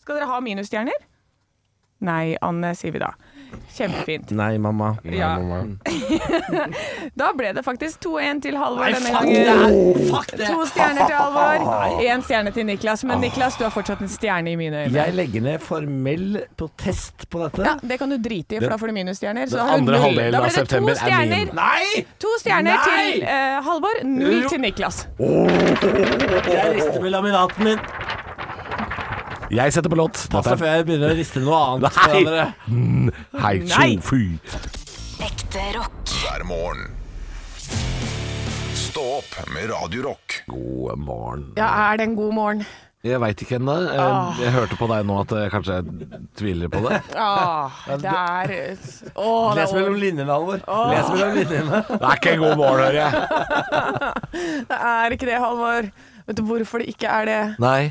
Speaker 5: Skal dere ha minusstjerner? Nei, Anne, sier vi da. Kjempefint.
Speaker 3: Nei, mamma.
Speaker 5: Ja.
Speaker 4: Mm.
Speaker 5: Da ble det faktisk 2-1 til Halvor
Speaker 3: Nei,
Speaker 5: denne
Speaker 3: fuck det her!
Speaker 5: gangen.
Speaker 3: Fuck det!
Speaker 5: To stjerner til Halvor, én stjerne til Niklas.
Speaker 4: Ah.
Speaker 5: Men Niklas, du har fortsatt en stjerne i mine øyne.
Speaker 3: Jeg legger ned formell protest på dette.
Speaker 5: Ja, Det kan du drite i, for da får du minusstjerner. Så
Speaker 4: Den
Speaker 5: da har du
Speaker 4: andre
Speaker 5: null.
Speaker 4: halvdelen
Speaker 5: Da ble
Speaker 4: av
Speaker 5: det to
Speaker 4: september er
Speaker 5: stjerner.
Speaker 4: min.
Speaker 3: Nei!
Speaker 5: To stjerner
Speaker 3: Nei!
Speaker 5: til eh, Halvor, null
Speaker 3: Jo.
Speaker 5: til Niklas.
Speaker 3: Jeg rister med laminaten min.
Speaker 4: Jeg setter på låt.
Speaker 3: Pass deg
Speaker 4: Dette
Speaker 3: før jeg begynner å riste noe annet.
Speaker 4: Nei!
Speaker 3: for dere.
Speaker 4: er Hei, tjo, fy.
Speaker 1: Ekte rock.
Speaker 2: hver morgen. Stå opp med Radio Rock.
Speaker 4: God morgen.
Speaker 5: Ja, er det en god morgen?
Speaker 4: Jeg veit ikke ennå. Eh, Jeg hørte på deg nå at jeg kanskje tviler på det.
Speaker 5: Ah, det er Åh, det
Speaker 3: Les mellom
Speaker 5: er,
Speaker 3: linjene, Alvor. Les mellom linjene.
Speaker 4: Det er ikke god morgen, hører jeg.
Speaker 5: det er ikke det, Halvor. Vet du hvorfor det ikke er det?
Speaker 4: Nei.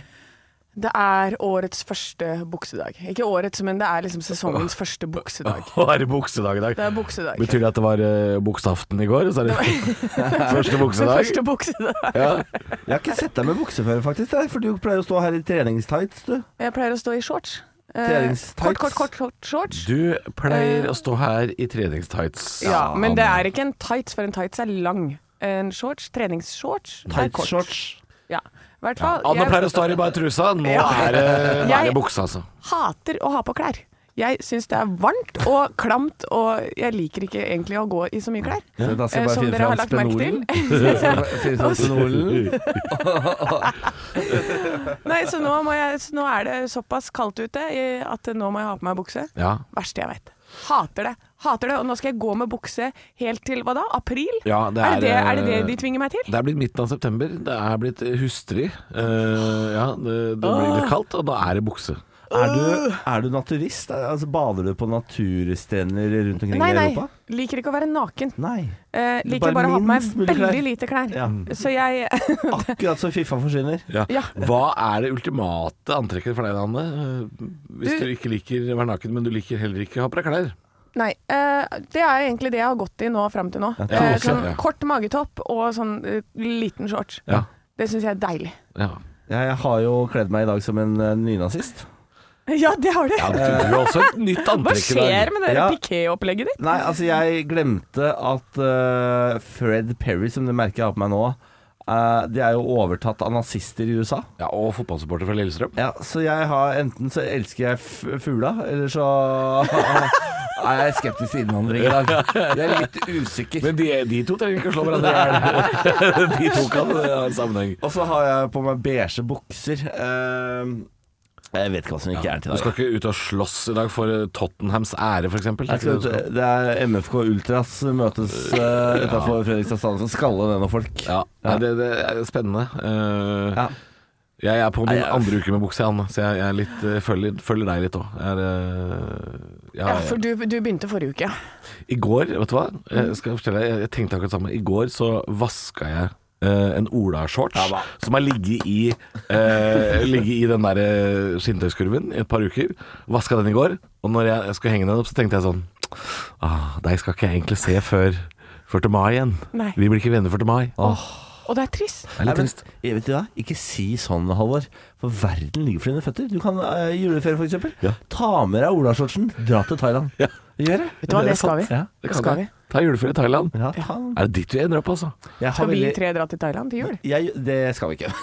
Speaker 5: Det er årets første buksedag. Ikke årets, men det er liksom sesongens første buksedag.
Speaker 4: Å, er det buksedag i dag?
Speaker 5: Det er buksedag.
Speaker 4: Betyr det at det var eh, buksaften i går? Så er det første buksedag?
Speaker 5: Første buksedag.
Speaker 4: Ja.
Speaker 3: Jeg har ikke sett deg med bukse før, faktisk. jeg, For du pleier å stå her i treningstights, du.
Speaker 5: Jeg pleier å stå i shorts. Eh,
Speaker 3: Treningstights.
Speaker 5: kort, kort, kort, kort shorts.
Speaker 4: Du pleier å stå her i treningstights.
Speaker 5: Ja, men det er ikke en tights, for en tights er lang. En shorts, treningsshorts, er kort.
Speaker 3: Tightshorts.
Speaker 5: Ja. I hvert fall.
Speaker 4: Anne
Speaker 5: jeg-
Speaker 4: pleier å stå her i bare trusa. Nå
Speaker 5: Ja.
Speaker 4: er det, nå er
Speaker 5: Jeg-
Speaker 4: det buksa, altså.
Speaker 5: hater å ha på klær. Jeg syns det er varmt og klamt, og jeg liker ikke egentlig å gå i så mye klær.
Speaker 3: Så da skal jeg
Speaker 5: Eh,
Speaker 3: bare
Speaker 5: Som
Speaker 3: finne
Speaker 5: dere
Speaker 3: fram
Speaker 5: har lagt merke til.
Speaker 3: Finne fram spenolen.
Speaker 5: Nei, så nå, må jeg, så nå er det såpass kaldt ute eh, at nå må jeg ha på meg bukse.
Speaker 4: Ja.
Speaker 5: Verste jeg vet. Hater det. Hater det. Og nå skal jeg gå med bukse helt til hva da? April?
Speaker 4: Ja, det
Speaker 5: er, det det,
Speaker 4: er,
Speaker 5: er det det
Speaker 4: eh,
Speaker 5: de tvinger meg til?
Speaker 4: Det er blitt midten av september. Det er blitt hustrig. Eh, ja, det, det blir litt kaldt, og da er det bukse.
Speaker 3: Er du, er du naturist? Altså, bader du på naturstrender rundt omkring
Speaker 5: Nei,
Speaker 3: i
Speaker 5: nei.
Speaker 3: Europa?
Speaker 5: Liker ikke å være naken.
Speaker 3: Nei.
Speaker 5: Eh,
Speaker 3: Det er
Speaker 5: liker
Speaker 3: bare
Speaker 5: bare å ha på meg
Speaker 3: minst mulig
Speaker 5: veldig
Speaker 3: klær.
Speaker 5: lite klær.
Speaker 3: Ja.
Speaker 5: Så jeg
Speaker 3: Akkurat så Fifa forsvinner.
Speaker 5: Ja.
Speaker 4: Hva er det ultimate antrekket for deg, Anne? Eh, Hvis
Speaker 5: Du-
Speaker 4: du, ikke liker å være naken, men du liker heller ikke å ha på deg klær.
Speaker 5: Nei. eh, det er egentlig det jeg har gått i nå fram til nå.
Speaker 3: Ja,
Speaker 5: Eh,
Speaker 4: også,
Speaker 5: sånn
Speaker 4: ja.
Speaker 5: kort magetopp og sånn eh, liten shorts.
Speaker 4: Ja.
Speaker 5: Det syns jeg er deilig.
Speaker 4: Ja,
Speaker 3: Ja, jeg har jo kledd meg i dag som en eh, nynazist.
Speaker 5: Ja, det har du!
Speaker 4: ja Du har også et nytt
Speaker 5: Hva
Speaker 4: antrekk i
Speaker 5: skjer
Speaker 4: dag.
Speaker 5: med det
Speaker 3: Ja.
Speaker 5: piqué-opplegget ditt?
Speaker 3: Nei, altså jeg glemte at eh, Fred Perry, som det merket jeg har på meg nå, eh, de er jo overtatt av nazister i USA.
Speaker 4: Ja, og fotballsupporter fra Lillestrøm.
Speaker 3: Ja, så jeg har enten så elsker jeg f- fugla, eller så er jeg skeptisk til innvandring i dag. Jeg er litt usikker.
Speaker 4: Men de, de to trenger ikke å slå hverandre i hjel. De to kan eh, ha en sammenheng.
Speaker 3: Og så har jeg på meg beige bukser. Eh, jeg vet ikke hva som ikke er til i
Speaker 4: Du skal
Speaker 3: dag.
Speaker 4: ikke ut og slåss i dag for eh, Tottenhams ære, f.eks.?
Speaker 3: Jeg skal ut, det er MFK Ultras møtes uh, utafor Fredrikstad stadion som skaller ned noen folk.
Speaker 4: Ja, Nei, det, det er spennende. Eh,
Speaker 3: Ja.
Speaker 4: Jeg er på min
Speaker 3: Nei, jeg-
Speaker 4: andre uke med bukse, Anne, så jeg, jeg er litt, eh, følger, følger deg litt òg. eh,
Speaker 5: Ja, for du, du begynte forrige uke.
Speaker 4: I går, vet du hva? Jeg, skal fortelle, deg, jeg, jeg tenkte akkurat samme. I går så vaska jeg eh, en olashorts som har ligget i, eh, ligget i den der eh, skinntøyskurven i et par uker. Vaska den i går, og når jeg, jeg skulle henge den opp, så tenkte jeg sånn ah, Deg skal ikke jeg egentlig se før, før til mai igjen.
Speaker 5: Nei.
Speaker 4: Vi blir ikke venner før til mai.
Speaker 5: Og det er trist.
Speaker 4: Det er litt
Speaker 3: Nei, men,
Speaker 4: trist.
Speaker 3: jeg vet du hva? Ikke si sånn, Halvor. For verden ligger for dine føtter. Du kan eh, juleferie, for eksempel.
Speaker 4: Ja.
Speaker 3: Ta med deg olashortsen, dra til Thailand.
Speaker 4: Ja.
Speaker 3: Gjør det.
Speaker 5: Vet du hva, det skal vi.
Speaker 3: Ja,
Speaker 4: Det
Speaker 5: Skal
Speaker 4: kan jeg. Ta juleferie i Thailand.
Speaker 3: Ja, ta den.
Speaker 4: Er det dit vi ender opp, altså?
Speaker 3: Jeg har
Speaker 5: Skal vi
Speaker 3: veldig-
Speaker 5: tre dra til Thailand til jul?
Speaker 3: jeg, Det skal vi ikke.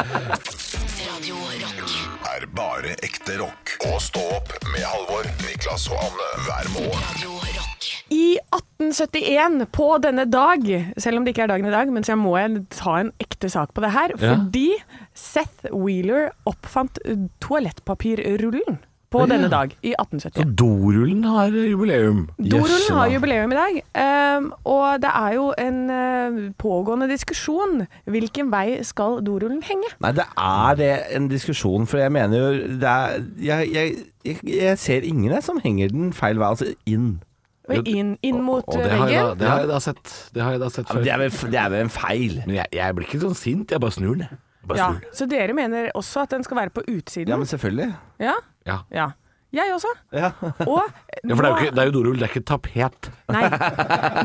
Speaker 1: Radio Rock.
Speaker 2: Er bare ekte rock. Og stå opp med Halvor, Niklas og Anne hver morgen.
Speaker 1: Radio Rock.
Speaker 5: I 1871, på denne dag, selv om det ikke er dagen i dag, men så må jeg ta en ekte sak på det her,
Speaker 4: Ja.
Speaker 5: fordi Seth Wheeler oppfant toalettpapirrullen. på denne dag i 1870.
Speaker 4: Dorullen har eh, jubileum.
Speaker 5: Dorullen
Speaker 4: Jøsse,
Speaker 5: har
Speaker 4: da.
Speaker 5: jubileum i dag, ehm, og det er jo en eh, pågående diskusjon. Hvilken vei skal dorullen henge?
Speaker 3: Nei, det er det en diskusjon, for jeg mener jo det er, jeg, jeg, jeg, jeg ser ingen jeg som henger den feil vei, altså inn.
Speaker 5: Og Inn, inn mot eh,
Speaker 4: Og det har, jeg da,
Speaker 5: veggen?
Speaker 4: det har jeg da sett, det har jeg da sett før.
Speaker 3: Det er vel, det er vel en feil.
Speaker 4: Men jeg, jeg blir ikke sånn sint, jeg bare snur den. jeg. Bare
Speaker 5: Ja,
Speaker 4: snur den.
Speaker 5: så dere mener også at den skal være på
Speaker 3: Ja,
Speaker 5: utsiden?
Speaker 3: men selvfølgelig.
Speaker 5: Ja?
Speaker 4: Ja.
Speaker 5: ja. Jeg også.
Speaker 3: Ja.
Speaker 5: Og
Speaker 4: Ja, for det er jo, ikke, det er jo dorull, det er ikke tapet.
Speaker 5: Nei,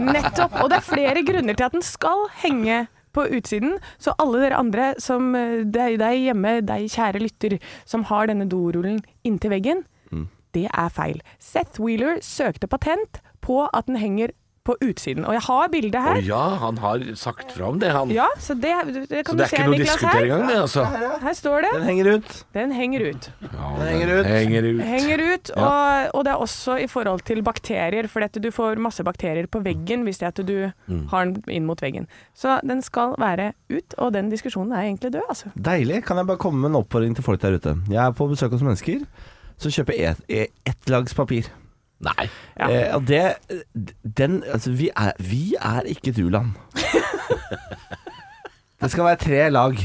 Speaker 5: nettopp. Og det er flere grunner til at den skal henge på utsiden. Så alle dere andre som eh, deg, deg hjemme, deg kjære lytter, som har denne dorullen inntil veggen,
Speaker 4: Mm.
Speaker 5: det er feil. Seth Wheeler søkte patent på at den henger på utsiden. Og jeg har bildet
Speaker 4: Å
Speaker 5: her.
Speaker 4: ja, han har sagt fra om det, han.
Speaker 5: Ja, så det, det
Speaker 4: Så
Speaker 5: kan
Speaker 4: det
Speaker 5: du
Speaker 4: er
Speaker 5: se,
Speaker 4: ikke noe å
Speaker 5: Niklas,
Speaker 4: diskutere
Speaker 5: her.
Speaker 4: engang, det, altså.
Speaker 5: Her står det.
Speaker 3: Den henger ut.
Speaker 5: Den henger ut.
Speaker 4: den
Speaker 3: henger ut.
Speaker 4: Henger ut.
Speaker 5: Henger ut, og, og det er også i forhold til bakterier, for at du får masse bakterier på veggen hvis det er at du
Speaker 3: Mm.
Speaker 5: har den inn mot veggen. Så den skal være ut, og den diskusjonen er egentlig død, altså.
Speaker 3: Deilig. Kan jeg bare komme med en oppfordring til folk der ute? Jeg er på besøk hos mennesker som kjøper et, et, ett lags papir.
Speaker 4: Nei.
Speaker 5: Ja.
Speaker 3: Eh, og det Den Altså, vi er, vi er ikke et u-land. det skal være tre lag.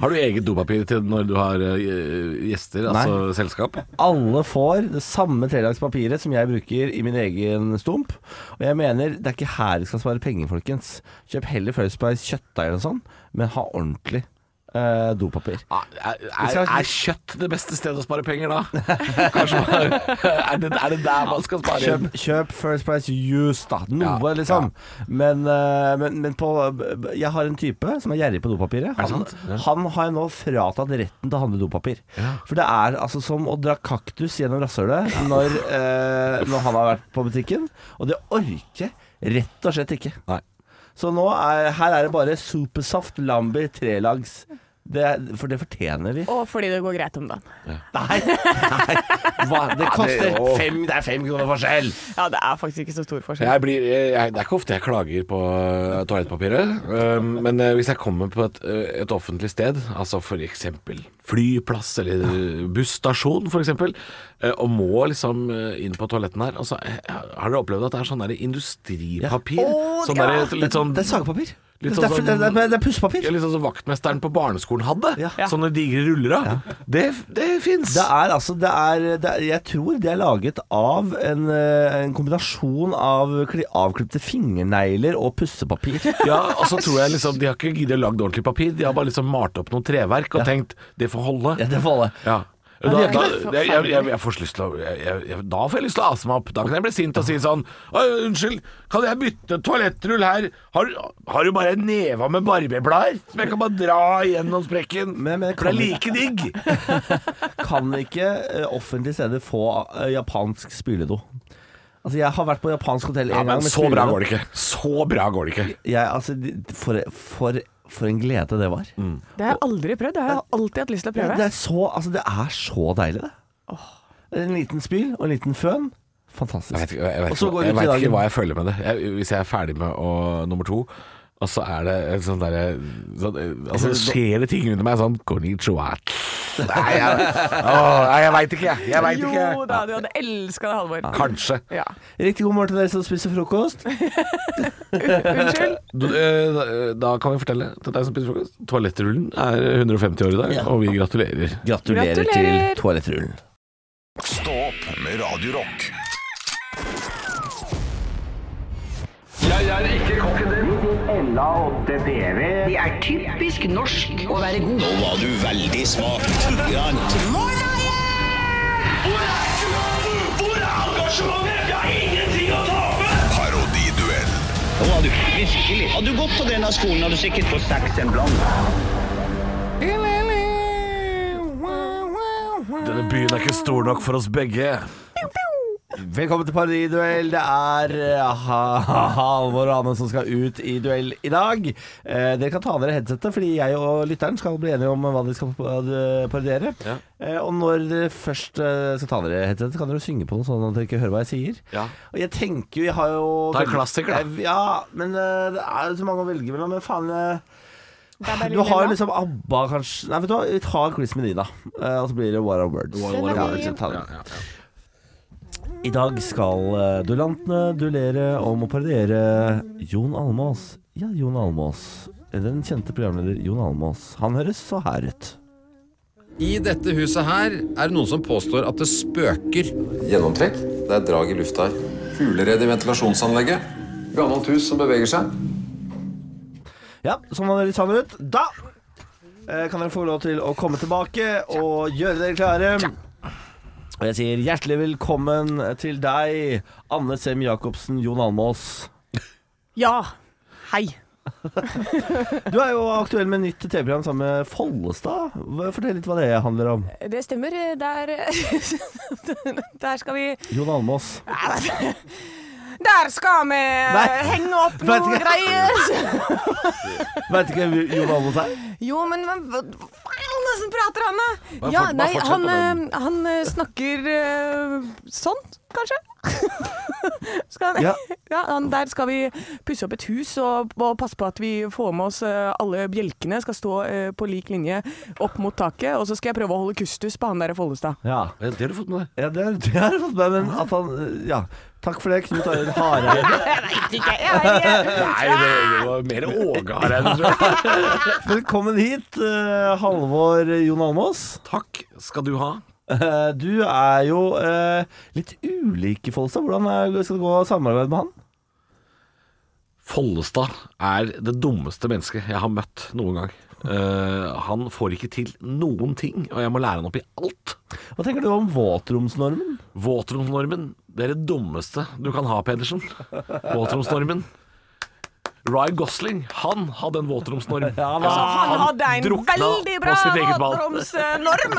Speaker 4: Har du eget dopapir til når du har eh, gjester, altså selskap?
Speaker 3: Alle får det samme trelagspapiret som jeg bruker i min egen stump. Og jeg mener, det er ikke her vi skal spare penger, folkens. Kjøp heller First Price kjøttdeig eller noe sånt, men ha ordentlig eh, dopapir.
Speaker 4: Ah, Er, er,
Speaker 3: skal-
Speaker 4: er kjøtt det beste stedet å spare penger, da? Kanskje man, er, det, er det der man skal spare?
Speaker 3: Kjøp, kjøp First Price Use, da. Noe,
Speaker 4: Ja,
Speaker 3: liksom. Men, eh, men, men på Jeg har en type som er gjerrig på dopapiret.
Speaker 4: det
Speaker 3: Han,
Speaker 4: sant? Ja.
Speaker 3: han har jeg nå fratatt retten til å handle dopapir. For det er altså som å dra kaktus gjennom rasshølet når, eh, når han har vært på butikken. Og det orker jeg rett og slett ikke.
Speaker 4: Nei.
Speaker 3: Så nå er, her er det bare Supersaft Lambi trelags. Det, for det fortjener vi.
Speaker 5: Og fordi det går greit om dagen.
Speaker 3: Nei! nei. Hva? Det koster
Speaker 4: jo-
Speaker 3: fem, det er fem kroner forskjell!
Speaker 5: Ja, det er faktisk ikke så stor forskjell.
Speaker 4: Jeg blir, jeg, jeg- det er ikke ofte jeg klager på eh, toalettpapiret, eh, men eh, hvis jeg kommer på et, eh, et offentlig sted, altså for eksempel flyplass eller eh, busstasjon for eksempel, eh, og må liksom eh, inn på toaletten her, altså, eh, har dere opplevd at det er sånn der industripapir?
Speaker 3: Å,
Speaker 4: Sånn
Speaker 3: ja.
Speaker 4: der, litt sånn,
Speaker 3: Det er sagepapir.
Speaker 4: Litt
Speaker 3: det, er,
Speaker 4: sånn-
Speaker 3: det, er, det, er, det er pussepapir.
Speaker 4: ja, litt sånn som vaktmesteren på barneskolen hadde,
Speaker 3: Ja.
Speaker 4: sånne digre ruller av. Det, det fins.
Speaker 3: Det er altså det er, det er, Jeg tror det er laget av en, eh, en kombinasjon av kli- avklipte fingernegler og pussepapir.
Speaker 4: Ja, og så tror jeg liksom De har ikke giddet å lage ordentlig papir, de har bare liksom malt opp noen treverk og tenkt det får holde.
Speaker 3: Ja, det får holde.
Speaker 4: Ja. Da, da, jeg, jeg, jeg, jeg får så lyst til å jeg, jeg, jeg, Da får jeg lyst til å ase meg opp. Da kan jeg bli sint og si sånn «Oi, Unnskyld, kan jeg bytte toalettrull her? Har, har du bare en neve med barberblader som jeg kan bare dra gjennom sprekken?
Speaker 3: Men- men
Speaker 4: For det er
Speaker 3: kan-
Speaker 4: like digg.
Speaker 3: Kan ikke eh, offentlige steder få eh, japansk spyledo? Altså, jeg har vært på japansk hotell en
Speaker 4: Ja,
Speaker 3: gang.
Speaker 4: men
Speaker 3: med
Speaker 4: så bra
Speaker 3: spyledo.
Speaker 4: går det ikke. Så bra går det ikke.
Speaker 3: Jeg, altså, de- for, for, for en glede det var.
Speaker 4: Mm.
Speaker 5: Det har jeg aldri prøvd, det har jeg alltid hatt lyst til å
Speaker 3: Det,
Speaker 5: prøve.
Speaker 3: er så, altså, det er så deilig, det. En liten spyl og en liten føn. Fantastisk.
Speaker 4: Jeg vet ikke, jeg vet
Speaker 3: Og så
Speaker 4: ikke,
Speaker 3: går du
Speaker 4: jeg
Speaker 3: til
Speaker 4: vet ikke
Speaker 3: dagen.
Speaker 4: hva jeg føler med det. Jeg, hvis jeg er ferdig med å, nummer to, og så er det en sånn derre sånn, eh, Altså skjer det ting under meg sånn Konnichiwa. Nei, jeg, åh, nei, jeg veit ikke, jeg. Jeg veit ikke.
Speaker 5: Jo da, du hadde elska det, Halvor.
Speaker 4: Kanskje.
Speaker 5: Ja.
Speaker 3: Riktig god morgen til dere som spiser frokost.
Speaker 5: Unnskyld.
Speaker 4: Du, eh, da- da kan vi fortelle til deg som spiser frokost. Toalettrullen er 150 år i dag, og vi gratulerer.
Speaker 3: Gratulerer,
Speaker 5: Gratulerer.
Speaker 3: til toalettrullen.
Speaker 2: Stå opp med Radio Rock.
Speaker 8: Det er typisk norsk å være god.
Speaker 9: Nå var du veldig smak. Grann.
Speaker 10: Hvor er engasjementet? Hvor er engasjementet? Vi har ingenting å tape!
Speaker 2: Parodiduell.
Speaker 9: Nå var du virkelig. Hadde du gått på denne skolen, hadde du sikkert fått seks en blant.
Speaker 4: Denne byen er ikke stor nok for oss begge.
Speaker 3: Velkommen til Parodiduell. Det er eh, ha- ha- Halvor og Anne som skal ut i duell i dag. Eh, dere kan ta av dere headsetet, fordi jeg og lytteren skal bli enige om hva de skal pa- parodiere. Eh, og når dere først eh, skal ta av dere headsetet, kan dere synge på noe sånn at dere ikke hører hva jeg sier.
Speaker 4: Ja.
Speaker 3: Og jeg tenker jo Jeg har jo
Speaker 4: Ta en klassiker, da.
Speaker 3: Jeg- Ja, men eh, det er jo så mange å velge mellom. Men faen eh,
Speaker 5: Babelilla.
Speaker 3: Du har jo liksom ABBA, kanskje Nei, vet du hva, vi tar Chris Medina. Eh, og så blir det What Are Words.
Speaker 5: Den er
Speaker 3: Ja,
Speaker 5: fin.
Speaker 3: liksom, ta den. I dag skal eh, duellantene duellere om å parodiere Jon Almaas. Ja, Jon Almaas. Den kjente programleder Jon Almaas. Han høres så her ut.
Speaker 11: I dette huset her er det noen som påstår at det spøker.
Speaker 12: Gjennomtrekk. Det er drag i lufta her. Fugleredd i ventilasjonsanlegget. Gammelt hus som beveger seg.
Speaker 3: Ja, sånn hadde dere sann ut. Da eh, kan dere få lov til å komme tilbake og gjøre dere klare. Og jeg sier hjertelig velkommen til deg, Anne Sem Jacobsen, Jon Almås.
Speaker 5: Ja. Hei.
Speaker 3: Du er jo aktuell med nytt TV-program sammen med Follestad. Hva- Fortell litt hva det handler om.
Speaker 5: Det stemmer. Der Der skal vi
Speaker 3: Jon Almås.
Speaker 5: Der skal vi
Speaker 3: Nei.
Speaker 5: henge opp
Speaker 3: Vet
Speaker 5: noen
Speaker 3: ikke.
Speaker 5: greier.
Speaker 3: Veit ikke hvem Jon Almås er?
Speaker 5: Jo, men hva hva- hva faen er det som prater han, da?
Speaker 3: Bare
Speaker 5: Ja,
Speaker 3: fort- bare
Speaker 5: nei,
Speaker 3: fortsett
Speaker 5: han,
Speaker 3: på
Speaker 5: eh, han eh, snakker eh, sånn, kanskje? skal han,
Speaker 3: Ja.
Speaker 5: ja. han, der skal vi pusse opp et hus og, og passe på at vi får med oss eh, alle bjelkene. Skal stå eh, på lik linje opp mot taket. Og så skal jeg prøve å holde kustus på han der i Follestad.
Speaker 3: Ja.
Speaker 4: Det har du fått med deg.
Speaker 3: Ja, det, er, det har jeg fått med men at han Ja. Takk for det, Knut Arild Hareide.
Speaker 4: Nei, det, det var mer Åge Hareide, tror jeg.
Speaker 3: Velkommen hit, eh, Halvor Jon Almås.
Speaker 4: Takk skal du ha.
Speaker 3: Eh, Du er jo eh, litt ulik i Follestad. Hvordan er- skal det gå samarbeid med han?
Speaker 4: Follestad er det dummeste mennesket jeg har møtt noen gang. Eh, han får ikke til noen ting, og jeg må lære han opp i alt.
Speaker 3: Hva tenker du om våtromsnormen?
Speaker 4: Våtromsnormen, det er det dummeste du kan ha, Pedersen. Våtromsnormen. Ryan Gosling, han hadde en våtromsnorm.
Speaker 3: han-
Speaker 4: Altså,
Speaker 5: Han hadde en
Speaker 4: drukna
Speaker 5: veldig bra
Speaker 4: på sitt eget bad.
Speaker 5: våtromsnorm.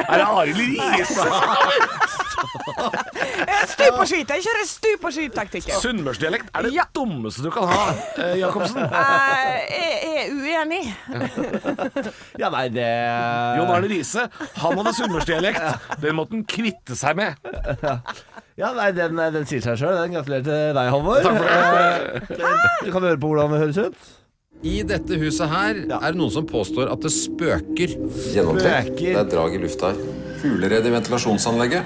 Speaker 4: Er det Arild Riise?
Speaker 5: Eh, Stup og skyt. Jeg kjører stup og skyt-taktikken.
Speaker 4: Sunnmørsdialekt er det
Speaker 5: Ja.
Speaker 4: dummeste du kan ha, eh, Jacobsen.
Speaker 5: Jeg er uenig.
Speaker 3: Ja, nei, det
Speaker 4: Jon Arne Riise, han hadde sunnmørsdialekt. Den måtte han kvitte seg med.
Speaker 3: Ja, nei, den, eh, den sier seg sjøl. Gratulerer til deg, Halvor. Eh, Du kan høre på hvordan det høres ut.
Speaker 11: I dette huset her er det noen som påstår at det spøker.
Speaker 12: Gjennomtrekk.
Speaker 3: Spøker.
Speaker 12: Det er drag i lufta her. Fugleredd i ventilasjonsanlegget.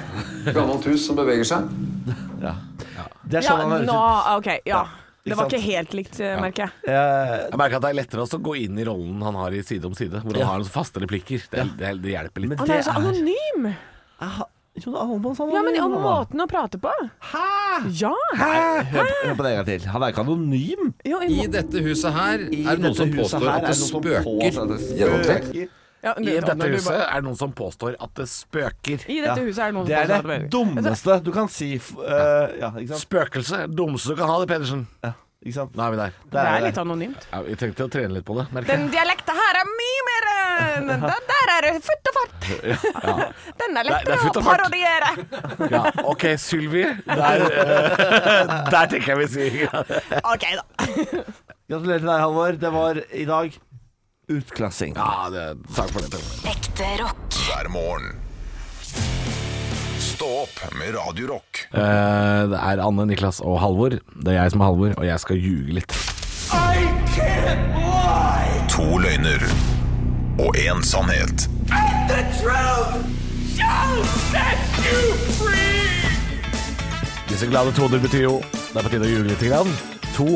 Speaker 12: Gammelt hus som beveger seg.
Speaker 3: Det er
Speaker 5: Ja,
Speaker 3: sånn han høres
Speaker 5: nå, ah,
Speaker 3: ut.
Speaker 5: ok, ja. Det var
Speaker 3: sant?
Speaker 5: ikke helt likt, eh, merker jeg.
Speaker 3: Eh,
Speaker 4: Jeg merker at det er lettere også å gå inn i rollen han har i Side om side, hvor han har noen faste replikker. Det, det, det hjelper litt.
Speaker 3: Men
Speaker 5: Han
Speaker 3: det
Speaker 5: er jo så
Speaker 3: er
Speaker 5: anonym!
Speaker 3: Ah, Jon Almås, han
Speaker 5: Ja, men
Speaker 3: anonym,
Speaker 5: Om
Speaker 3: han, da.
Speaker 5: måten å prate på.
Speaker 3: Hæ?
Speaker 5: Ja!
Speaker 3: Hør på- hør på det en gang til. Han er ikke anonym.
Speaker 5: Jo, i
Speaker 11: I
Speaker 5: må-
Speaker 11: dette huset her
Speaker 3: I
Speaker 11: er det noen
Speaker 3: dette
Speaker 11: som
Speaker 3: huset
Speaker 11: påstår
Speaker 3: her
Speaker 11: at
Speaker 3: er
Speaker 11: det
Speaker 3: noen som
Speaker 11: spøker.
Speaker 3: påstår at det spøker.
Speaker 12: Gjennomtrekk.
Speaker 5: ja,
Speaker 4: I
Speaker 5: når
Speaker 4: dette
Speaker 5: du
Speaker 4: huset
Speaker 5: bare-
Speaker 4: er det noen som påstår at det spøker.
Speaker 5: I dette huset er det noen
Speaker 3: Det er
Speaker 5: som påstår at
Speaker 3: det
Speaker 5: det er-
Speaker 3: dummeste du kan si. f- eh, ja, ikke sant?
Speaker 4: Spøkelse. Dummeste du kan ha det, Pedersen.
Speaker 3: Ja, ikke sant?
Speaker 4: Da er vi der.
Speaker 5: Det er litt anonymt.
Speaker 4: Ja, vi trengte å trene litt på det. merker jeg.
Speaker 5: Den dialekta her er mye mer eh, den- Den der er det futt og fart! Den er
Speaker 4: det er
Speaker 5: lettere
Speaker 4: futt
Speaker 5: å
Speaker 4: og fart.
Speaker 5: parodiere.
Speaker 4: Ja, OK, Sylvi. Der, eh, der tenker jeg vi sier
Speaker 5: OK, da.
Speaker 3: Gratulerer til deg, Halvor. Det var i dag utklassing.
Speaker 4: Ja, det, takk for det.
Speaker 1: Ekte rock.
Speaker 2: hver morgen. Stå opp med Radio Rock.
Speaker 4: Eh, det er Anne, Niklas og Halvor. Det er jeg som er Halvor, og jeg skal ljuge litt.
Speaker 2: To løgner og én sannhet.
Speaker 4: Disse glade toner betyr jo det er på tide å ljuge litt. Grann. To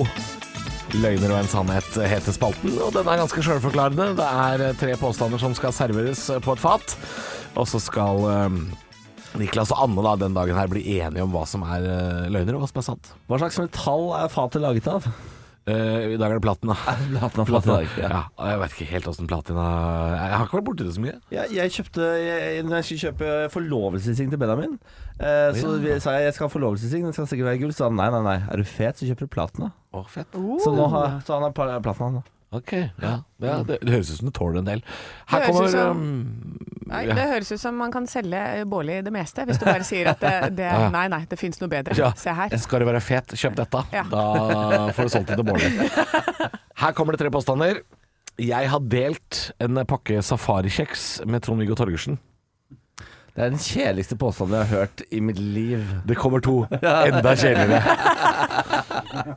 Speaker 4: løgner og en sannhet heter spalten, og den er ganske sjølforklarende. Det er eh, tre påstander som skal serveres eh, på et fat, og så skal eh, Niklas og Anne da, den dagen her bli enige om hva som er eh, løgner og hva som er sant.
Speaker 3: Hva slags metall er fatet laget av?
Speaker 4: Eh, I dag er det platina.
Speaker 3: Platina,
Speaker 4: ja. Jeg vet ikke helt åssen platina Jeg har ikke vært borti det så mye.
Speaker 3: Ja, jeg kjøpte jeg, Når jeg skulle kjøpe forlovelsesring til Benjamin, eh, så vi, sa jeg jeg skal ha forlovelsesring, den skal sikkert være i gull. Så sa han nei, nei, nei. Er du fet, så kjøper du platina.
Speaker 4: Å, fett.
Speaker 3: Så, nå har, så han har pla- platina nå.
Speaker 4: Ok, ja. ja det, det høres ut som du tåler en del. Her
Speaker 5: Det høres ut
Speaker 4: kommer
Speaker 5: som-
Speaker 4: um,
Speaker 5: Nei,
Speaker 4: Ja.
Speaker 5: det høres ut som man kan selge Bårli det meste, hvis du bare sier at det, det er Nei, nei, det fins noe
Speaker 4: ja,
Speaker 5: bedre. Se her.
Speaker 4: Eh, Skal du være fet, kjøp dette.
Speaker 5: Ja.
Speaker 4: Da får du solgt det til Bård. Her kommer det tre påstander. Jeg har delt en pakke safarikjeks med Trond-Viggo Torgersen.
Speaker 3: Det er den kjedeligste påstanden jeg har hørt i mitt liv.
Speaker 4: Det kommer to. Enda kjedeligere.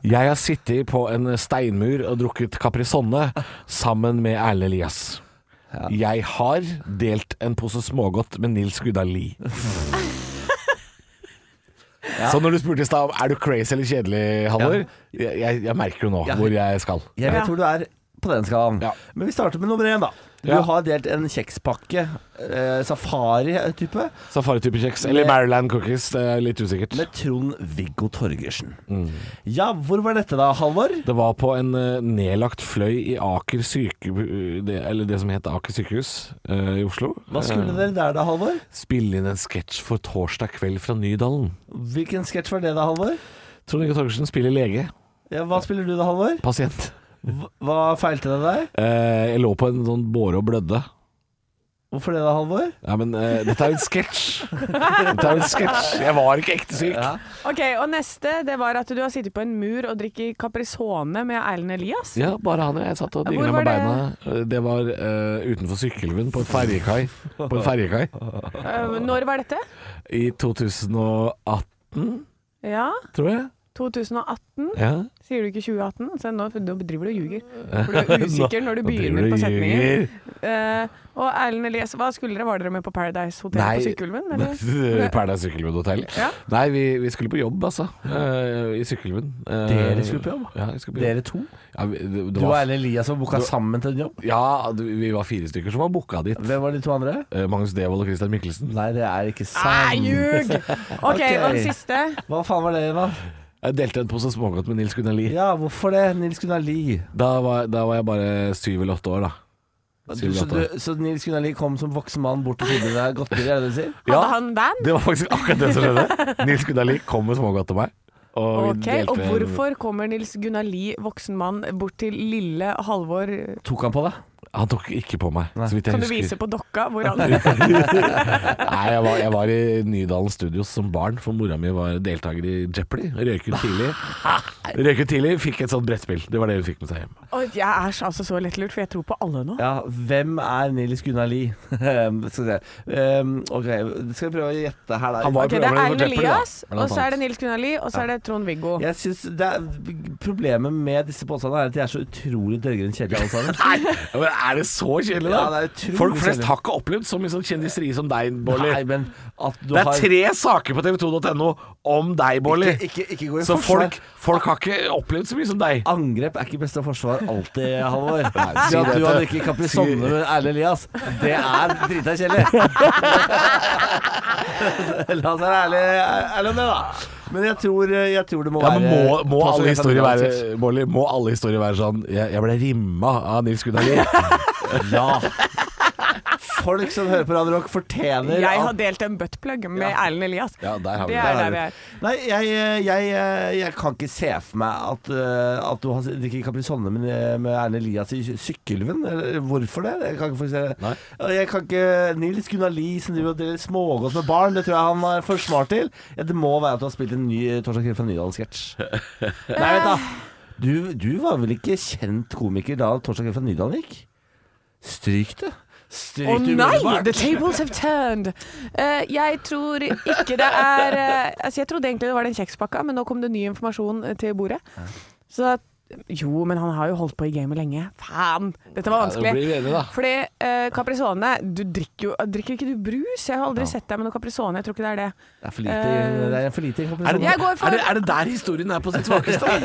Speaker 4: Jeg har sittet på en steinmur og drukket Caprisonne sammen med Erle Elias. Jeg har delt en pose smågodt med Nils Gudda Lie. Så når du spurte i stad om er du crazy eller kjedelig, Halvor, jeg, jeg, jeg merker jo nå
Speaker 3: Ja.
Speaker 4: hvor jeg skal.
Speaker 3: Jeg vet hvor du er på den skalaen. Men vi starter med nummer én, da. Du
Speaker 4: Ja.
Speaker 3: har delt en kjekspakke. Eh, Safari-type.
Speaker 4: Safaritype kjeks. Eller
Speaker 3: Med-
Speaker 4: Maryland cookies, det er litt usikkert.
Speaker 3: Med Trond-Viggo Torgersen. Ja, hvor var dette da, Halvor?
Speaker 4: Det var på en eh, nedlagt fløy i Aker syke... Det, eller det som het Aker sykehus eh, i Oslo.
Speaker 3: Hva skulle dere der da, Halvor?
Speaker 4: Spille inn en sketsj for torsdag kveld fra Nydalen.
Speaker 3: Hvilken sketsj var det da, Halvor?
Speaker 4: Trond Viggo Torgersen spiller lege.
Speaker 3: Ja, hva spiller du da, Halvor?
Speaker 4: Pasient.
Speaker 3: Hva- Hva feilte det deg?
Speaker 4: Eh, jeg lå på en sånn båre og blødde.
Speaker 3: Hvorfor det da, Halvor?
Speaker 4: Ja, men eh, dette er jo en sketsj. Dette er jo en sketsj. Jeg var ikke ekte syk. Ja.
Speaker 5: Ok, og neste det var at du har sittet på en mur og drikker Caprisone med Erlend Elias.
Speaker 4: bare han og jeg satt og
Speaker 5: Hvor
Speaker 4: dingla
Speaker 5: var
Speaker 4: med
Speaker 5: det?
Speaker 4: beina. Eh, Det var eh, utenfor Sykkylven, på en ferjekai. På en ferjekai.
Speaker 5: Eh, når var dette?
Speaker 4: I 2018,
Speaker 5: Ja,
Speaker 4: tror jeg.
Speaker 5: 2018.
Speaker 4: Ja.
Speaker 5: Sier du ikke 2018? Se, nå, nå driver du og ljuger. For du er usikker når du
Speaker 4: Nå- nå driver
Speaker 5: begynner
Speaker 4: du
Speaker 5: på
Speaker 4: og
Speaker 5: setningen. Eh, og Erlend Elias, hva skulle dere? Var dere med på Paradise Hotel på Sykkylven? eller?
Speaker 4: Paradise Sykkylven Hotel.
Speaker 5: Ja.
Speaker 4: Nei, vi, vi skulle på jobb, altså. eh, I Sykkylven. Eh,
Speaker 3: Dere skulle på jobb?
Speaker 4: Ja, vi skulle på jobb.
Speaker 3: Dere to?
Speaker 4: Ja, vi, det, det
Speaker 3: Du og
Speaker 4: var,
Speaker 3: Erlend Elias var booka
Speaker 4: Du-
Speaker 3: sammen til en jobb?
Speaker 4: ja, du- vi var fire stykker som var booka dit.
Speaker 3: Hvem var de to andre?
Speaker 4: Eh, Magnus Devold og Christian Mikkelsen.
Speaker 3: Nei, det er ikke
Speaker 5: Nei,
Speaker 3: sant.
Speaker 5: ljug! OK, og den siste.
Speaker 3: Hva faen var det, da?
Speaker 4: Jeg delte en pose smågodt med Nils Gunnar Lie.
Speaker 3: Ja, hvorfor det? Nils Gunnar Lie.
Speaker 4: Da, var- da var jeg bare syv eller åtte år, da. Syv
Speaker 3: Så,
Speaker 4: eller åtte år.
Speaker 3: du, så Nils Gunnar Lie kom som voksen mann bort og tilbød deg godteri, er det det du sier?
Speaker 5: Hadde
Speaker 4: Ja,
Speaker 5: han band?
Speaker 4: det var faktisk akkurat det som skjedde. Nils Gunnar Lie kom med smågodt til meg. Og, vi
Speaker 5: Ok,
Speaker 4: delte-
Speaker 5: Og hvorfor kommer Nils Gunnar Lie, voksen mann, bort til lille Halvor?
Speaker 3: Tok han på deg?
Speaker 4: Han tok ikke på meg, så vidt jeg
Speaker 5: Kan du
Speaker 4: husker.
Speaker 5: vise på dokka hvor han
Speaker 4: Nei, jeg var, jeg var i Nydalen Studios som barn, for mora mi var deltaker i Jeopardy. Røyket tidlig. Røyket tidlig, fikk et sånt brettspill. Det var det hun fikk med seg hjem.
Speaker 5: Oi, Jeg er så- altså så lettlurt, for jeg tror på alle nå.
Speaker 3: Ja, hvem er Nils Gunnar Lie? skal vi se. Um, ok, skal vi prøve å gjette her, da.
Speaker 4: Han var
Speaker 5: Ok, det er
Speaker 4: programleder for
Speaker 5: Erlend
Speaker 4: Jeopardy, da,
Speaker 5: Elias,
Speaker 4: blant
Speaker 5: og så er det
Speaker 4: annet.
Speaker 5: Nils Gunnar Lie, og så er det Trond-Viggo.
Speaker 3: Jeg synes det er, Problemet med disse påstandene er at de er så utrolig dørgere enn kjedelige alle sammen.
Speaker 4: Nei, men er det så kjedelig, da?
Speaker 3: Ja, det er utrolig
Speaker 4: Folk flest
Speaker 3: kjedelig.
Speaker 4: har ikke opplevd så mye sånn kjendiseri som deg, Bårli.
Speaker 3: Nei, men at du
Speaker 4: Det er
Speaker 3: har
Speaker 4: tre saker på tv2.no om deg, Bårli.
Speaker 3: Ikke- ikke- ikke gå i
Speaker 4: Så
Speaker 3: forsvar.
Speaker 4: folk, folk har ikke opplevd så mye som deg.
Speaker 3: Angrep er ikke beste forsvar alltid, Halvor.
Speaker 4: si
Speaker 3: Si at
Speaker 4: det
Speaker 3: du har
Speaker 4: til-
Speaker 3: drukket Caprisonne
Speaker 4: si-
Speaker 3: med Erlend Elias, det er drita kjedelig. La oss være ærlige ærlig om det, da. Men jeg tror, jeg tror det må
Speaker 4: Ja,
Speaker 3: være
Speaker 4: men må, må,
Speaker 3: Plass-
Speaker 4: alle historier være, Bårli, må alle historier være sånn Jeg, jeg ble rimma av Nils Gunnar Lie.
Speaker 3: Ja. Folk som hører på Radio Rock, fortjener
Speaker 5: Jeg har delt en buttplug med Erlend Elias.
Speaker 4: Ja, der har vi
Speaker 5: Det
Speaker 4: det.
Speaker 5: er der vi er.
Speaker 3: Nei, jeg, jeg, eh, jeg kan ikke se for meg at, eh, at du har drikket Caprisonne med, med Erne Elias i Sykkylven. Eller Hvorfor det? Jeg kan ikke få se
Speaker 4: Nei.
Speaker 3: Jeg kan ikke Nils Gunnar Lie som driver og deler smågodt med barn, det tror jeg han er for smart til. Ja, det må være at du har spilt en ny Torsdag kveld fra Nydalen-sketsj. Nei, vent da.
Speaker 5: Eh.
Speaker 3: Du, du var vel ikke kjent komiker da Torsdag kveld fra Nydalen gikk? Stryk det. Stryk
Speaker 5: Å
Speaker 3: det
Speaker 5: nei!
Speaker 3: umiddelbart.
Speaker 5: The tables have turned. Eh, jeg tror ikke det er eh, Altså, jeg trodde egentlig det var den kjekspakka, men nå kom det ny informasjon eh, til bordet. Så at Jo, men han har jo holdt på i gamet lenge. Faen! Dette var
Speaker 4: Ja, da blir
Speaker 5: vanskelig.
Speaker 4: vi enige, da.
Speaker 5: Fordi eh, Caprisone Du drikker jo Drikker ikke du brus? Jeg har aldri sett deg med noe Caprisone. Jeg tror ikke det er det.
Speaker 3: Det er for lite, det Eh, er for lite Caprisonne.
Speaker 5: Jeg går for
Speaker 4: Er det, er det der historien er på sitt svakeste?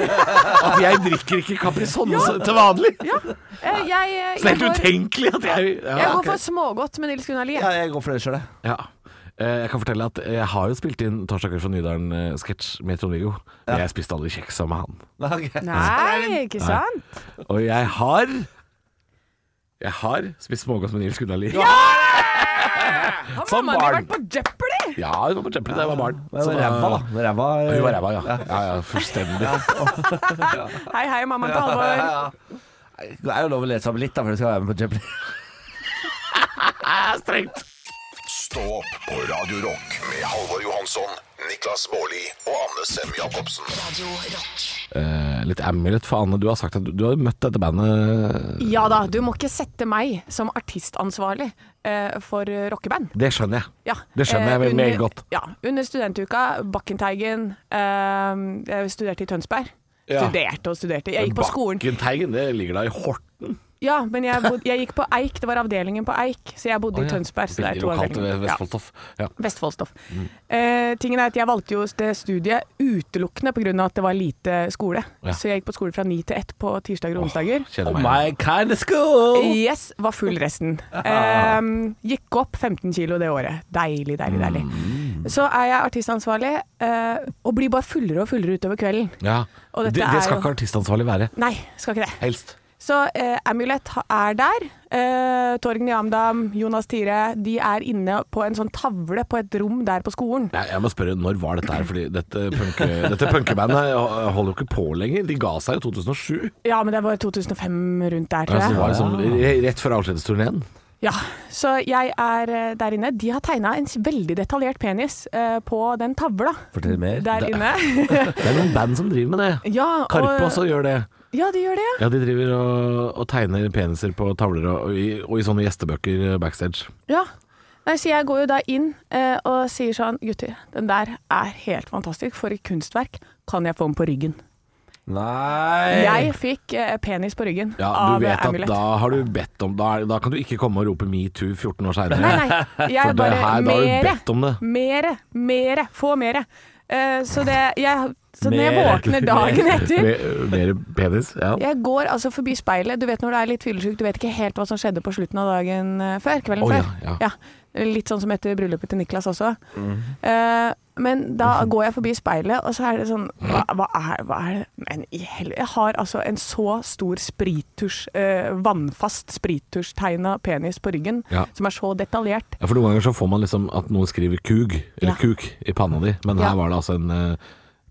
Speaker 4: At jeg drikker ikke Caprisonne så- til vanlig?
Speaker 5: Eh, jeg, eh,
Speaker 4: Så det er
Speaker 5: jeg,
Speaker 4: helt
Speaker 5: går,
Speaker 4: utenkelig at jeg ja,
Speaker 5: jeg går
Speaker 4: ok.
Speaker 5: for smågodt med Nils Gunnar Lie.
Speaker 3: Ja, jeg går for det sjøl, jeg.
Speaker 4: ja. Eh, Jeg kan fortelle at jeg har jo spilt inn 'Torsdag kveld fra Nydalen'-sketsj med Trond-Viggo. Men Jeg spiste aldri kjeks sammen med han.
Speaker 3: Nei, ok.
Speaker 5: Nei, ikke sant?
Speaker 4: Og jeg har Jeg har spist smågodt med Nils Gunnar Lie.
Speaker 5: Har
Speaker 4: Som
Speaker 5: mamma di
Speaker 4: barn.
Speaker 5: vært på Jeopardy?
Speaker 4: Ja, hun var på Jeopardy da jeg var barn.
Speaker 3: Det var
Speaker 4: Så eh,
Speaker 3: ræva, da. Det var Ræva, eh.
Speaker 4: Hun var ræva, ja. ja, ja fullstendig.
Speaker 5: Hei, hei, mamma til Halvor.
Speaker 3: Det er jo lov å lese opp litt da, før du skal være med på Jeopardy.
Speaker 4: Strengt.
Speaker 2: Stå opp på Radio Rock med Halvor Johansson, Niklas Baarli og Anne Sem Jacobsen.
Speaker 1: Radio Rock.
Speaker 4: Eh, litt amulet, for Anne, du har sagt at du, du har møtt dette bandet
Speaker 5: Ja da, du må ikke sette meg som artistansvarlig eh, for eh, rockeband.
Speaker 4: Det skjønner jeg.
Speaker 5: Ja,
Speaker 4: Det skjønner jeg
Speaker 5: eh,
Speaker 4: veldig
Speaker 5: under-
Speaker 4: godt.
Speaker 5: Ja, under studentuka, Bakkenteigen, eh, jeg studerte i Tønsberg.
Speaker 4: Ja.
Speaker 5: Studerte og studerte. Jeg gikk på skolen.
Speaker 4: Bakkenteigen, det ligger da i Horten.
Speaker 5: Ja, men jeg, bod, jeg gikk på Eik, det var avdelingen på Eik, så jeg bodde i Tønsberg. Så det er
Speaker 4: Veldig
Speaker 5: to
Speaker 4: lokalt eh,
Speaker 5: avdelinger.
Speaker 4: ved Vestfoldstoff. Ja.
Speaker 5: Ja, Vestfoldstoff. Eh, tingen er at jeg valgte jo det studiet utelukkende pga. at det var lite skole.
Speaker 4: Ja.
Speaker 5: Så jeg gikk på skole fra ni til ett på tirsdager og onsdager.
Speaker 4: Kjenner
Speaker 3: Oh
Speaker 4: meg.
Speaker 3: my kind of school!
Speaker 5: Yes, var full resten. Ehm, gikk opp 15 kilo det året. Deilig, deilig, deilig.
Speaker 4: Mm.
Speaker 5: Så er jeg artistansvarlig, eh, og blir bare fullere og fullere utover kvelden.
Speaker 4: Ja.
Speaker 5: Og
Speaker 4: Det,
Speaker 5: dette
Speaker 4: det
Speaker 5: er
Speaker 4: skal
Speaker 5: jo-
Speaker 4: ikke artistansvarlig være.
Speaker 5: Nei, skal ikke det.
Speaker 4: Helst.
Speaker 5: Så eh, Amulet ha- er der. Eh, Torgny Amdam, Jonas Tire, de er inne på en sånn tavle på et rom der på skolen.
Speaker 4: Nei, jeg må spørre, når var dette her? Fordi dette, punke, dette punkebandet holder jo ikke på lenger. De ga seg i 2007.
Speaker 5: Ja, men det var 2005 rundt der, tror
Speaker 4: Altså, det
Speaker 5: jeg.
Speaker 4: var liksom, rett før avskjedsturneen.
Speaker 5: Ja, så jeg er eh, der inne. De har tegna en veldig detaljert penis eh, på den tavla
Speaker 3: Fortell mer.
Speaker 5: der
Speaker 4: Det-
Speaker 5: inne.
Speaker 4: Det er noen band som driver med det.
Speaker 5: Ja,
Speaker 4: Karpe også gjør det.
Speaker 5: Ja, de gjør det, ja.
Speaker 4: Ja, De driver og, og tegner peniser på tavler og, og, i, og i sånne gjestebøker backstage.
Speaker 5: ja. Nei, så jeg går jo da inn eh, og sier sånn Gutter, den der er helt fantastisk. For et kunstverk. Kan jeg få den på ryggen?
Speaker 3: Nei
Speaker 5: Jeg fikk eh, penis på ryggen
Speaker 4: Ja,
Speaker 5: av
Speaker 4: du vet
Speaker 5: eh,
Speaker 4: at
Speaker 5: Amulet.
Speaker 4: Da har du bedt om da, er- da kan du ikke komme og rope metoo 14 år seinere.
Speaker 5: Nei, nei.
Speaker 4: For
Speaker 5: Jeg
Speaker 4: det
Speaker 5: bare
Speaker 4: her, da har du
Speaker 5: Mere.
Speaker 4: bedt om det.
Speaker 5: Mere. Mere. Få mere. Eh, så det jeg, Så når jeg
Speaker 3: Mere.
Speaker 5: våkner dagen etter
Speaker 4: Mer penis? Ja.
Speaker 5: jeg går altså forbi speilet. Du vet når du er litt fyllesyk, du vet ikke helt hva som skjedde på slutten av dagen eh, før. Kvelden
Speaker 4: Å, ja,
Speaker 5: før.
Speaker 4: ja. Mm.
Speaker 5: Litt sånn som etter bryllupet til Niklas også. Eh, men
Speaker 4: Mhm.
Speaker 5: da går jeg forbi speilet, og så er det sånn Hva, hva, er, hva er det Men i helvete Jeg har altså en så stor sprittusj, eh, vannfast sprittusjtegna penis på ryggen,
Speaker 4: Ja.
Speaker 5: som er så detaljert.
Speaker 4: Ja, for Noen ganger så får man liksom at noen skriver 'kug'
Speaker 5: Ja.
Speaker 4: eller 'kuk' i panna di, men
Speaker 5: Ja.
Speaker 4: her var det altså en, eh,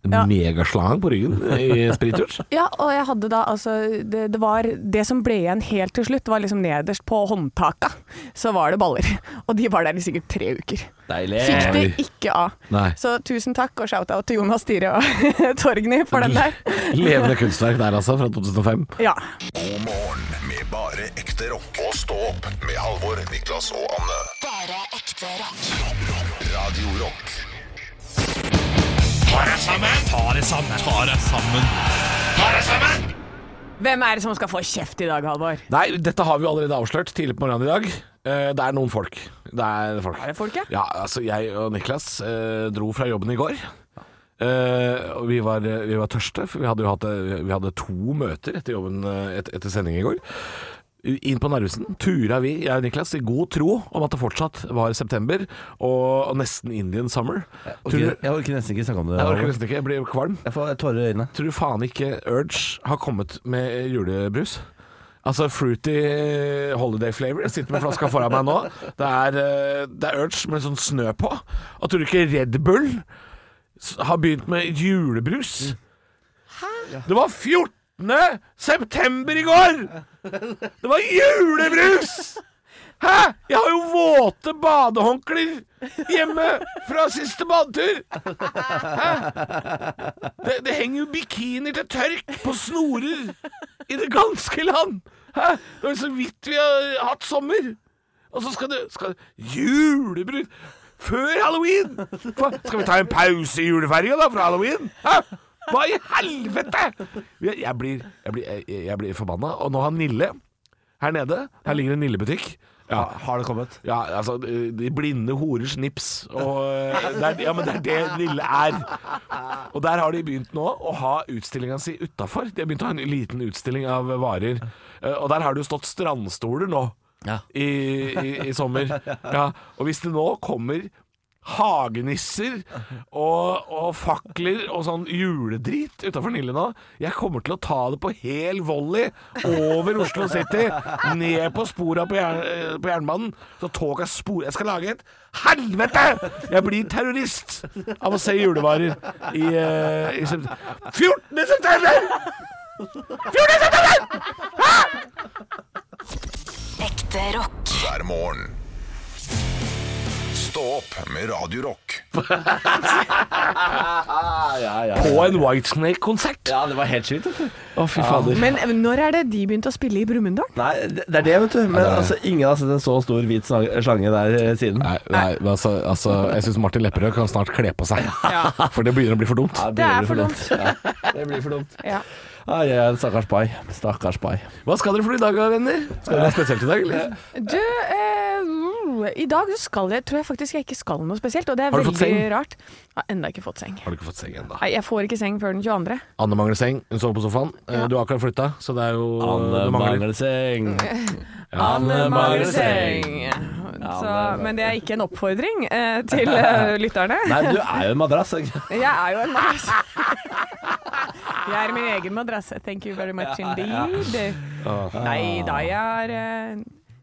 Speaker 4: en
Speaker 5: Ja.
Speaker 4: megaslang på ryggen i sprittusj.
Speaker 5: Ja, og jeg hadde da altså det, det var Det som ble igjen helt til slutt, var liksom nederst på håndtaka. Så var det baller. Og de var der i sikkert tre uker.
Speaker 3: Deilig.
Speaker 5: Fikk det
Speaker 4: Oi.
Speaker 5: ikke av.
Speaker 4: Nei.
Speaker 5: Så tusen takk og shout-out til Jonas Tire og Torgny for den der.
Speaker 4: Levende kunstverk der altså, fra 2005.
Speaker 5: Ja.
Speaker 2: God morgen med bare ekte rock. Og stå opp med Halvor, Niklas og Anne.
Speaker 1: Bare ekte rock.
Speaker 2: Radio Rock.
Speaker 5: Hvem er det som skal få kjeft i dag, Halvor?
Speaker 4: Nei, dette har vi jo allerede avslørt tidlig på morgenen i dag. Eh, Det er noen folk. Det er folk.
Speaker 5: Er det folk, ja?
Speaker 4: Ja, altså jeg og Niklas eh, dro fra jobben i går. Eh, og vi var, vi var tørste, for vi hadde jo hatt eh, vi hadde to møter etter, jobben, eh, et, etter sending i går. Inn på Narvesen tura vi, jeg og Niklas, i god tro om at det fortsatt var september og, og nesten Indian summer.
Speaker 3: Ok,
Speaker 4: Tror,
Speaker 3: Jeg orker nesten ikke snakke om det.
Speaker 4: jeg orker
Speaker 3: Halvor.
Speaker 4: nesten ikke, jeg blir kvalm.
Speaker 3: Jeg får tårer i øynene.
Speaker 4: Tror du faen ikke Urge har kommet med julebrus? Altså fruity holiday flavor. Jeg sitter med flaska foran meg nå. Det er, eh, det er Urge med sånn snø på. Og tror du ikke Red Bull s- har begynt med julebrus? Hæ? Det var 14. september i går! Det var julebrus! Hæ? Jeg har jo våte badehåndklær hjemme fra siste badetur! Det, det henger jo bikinier til tørk på snorer i det ganske land! Hæ? Det er jo så vidt vi har hatt sommer! Og så skal det skal, Julebrus før halloween! Hva, skal vi ta en pause i julefeiringa da, fra halloween? Hæ? Hva i helvete?! Jeg, jeg blir, jeg blir, jeg, jeg blir forbanna. Og nå har Nille her nede Her ligger en Nille-butikk. Ja,
Speaker 3: Ha- Har det kommet?
Speaker 4: ja, altså De blinde horers nips. Og, eh, det er, ja, men det er det lille er. Og der har de begynt nå å ha utstillinga si utafor. De har begynt å ha en liten utstilling av varer. Eh, Og der har det jo stått strandstoler nå
Speaker 3: Ja.
Speaker 4: i, i, i sommer. Ja, og hvis det nå kommer hagenisser og, og fakler og sånn juledrit utafor Nille nå Jeg kommer til å ta det på hel volley over Oslo City, ned på spora på, jern, eh, på jernbanen. Så toga spor... Jeg skal lage et helvete! Jeg blir terrorist av å se julevarer i, eh, i sept- 14. september!
Speaker 1: Ekte rock.
Speaker 2: Hver morgen. Stå opp med Radio Rock.
Speaker 4: På en Whitesnake-konsert.
Speaker 3: Ja, det var helt sjukt. vet du.
Speaker 4: Å, fy fader.
Speaker 5: Men eh, når er det de begynte å spille i Brumunddal?
Speaker 3: Nei, det det er det, vet du. Men altså, ingen har sett en så stor hvit slang- slange der eh, siden.
Speaker 4: Nei, nei men altså, altså Jeg syns Martin Lepperød kan snart kle på seg. For det begynner å bli for dumt.
Speaker 3: Ja,
Speaker 5: Det er
Speaker 3: blir
Speaker 5: for dumt.
Speaker 3: Ja, det blir for dumt.
Speaker 5: Ja.
Speaker 3: Ai, ai, ai, stakkars pai. Stakkars pai.
Speaker 4: Hva skal dere for i dag, venner? Skal dere ha spesielt i dag, eller?
Speaker 5: Du, eh, mm, i dag så skal jeg, tror jeg faktisk jeg ikke skal noe spesielt, og det er
Speaker 4: Har du fått
Speaker 5: veldig
Speaker 4: seng?
Speaker 5: rart. Jeg har enda ikke fått seng.
Speaker 4: Har du ikke fått seng ennå?
Speaker 5: Nei, jeg får ikke seng før den 22.
Speaker 4: Anne mangler seng. Hun sover på sofaen. Eh,
Speaker 5: Ja.
Speaker 4: Du har akkurat flytta, så det er jo
Speaker 3: Anne
Speaker 4: du mangler.
Speaker 3: mangler seng. Anne mangler seng.
Speaker 5: Så, men det er ikke en oppfordring eh, til eh, lytterne.
Speaker 3: Nei, du er jo en madrass. ikke?
Speaker 5: Jeg er jo en madrass. Jeg er min egen madrass. Thank you very much indeed. Nei da, jeg er eh,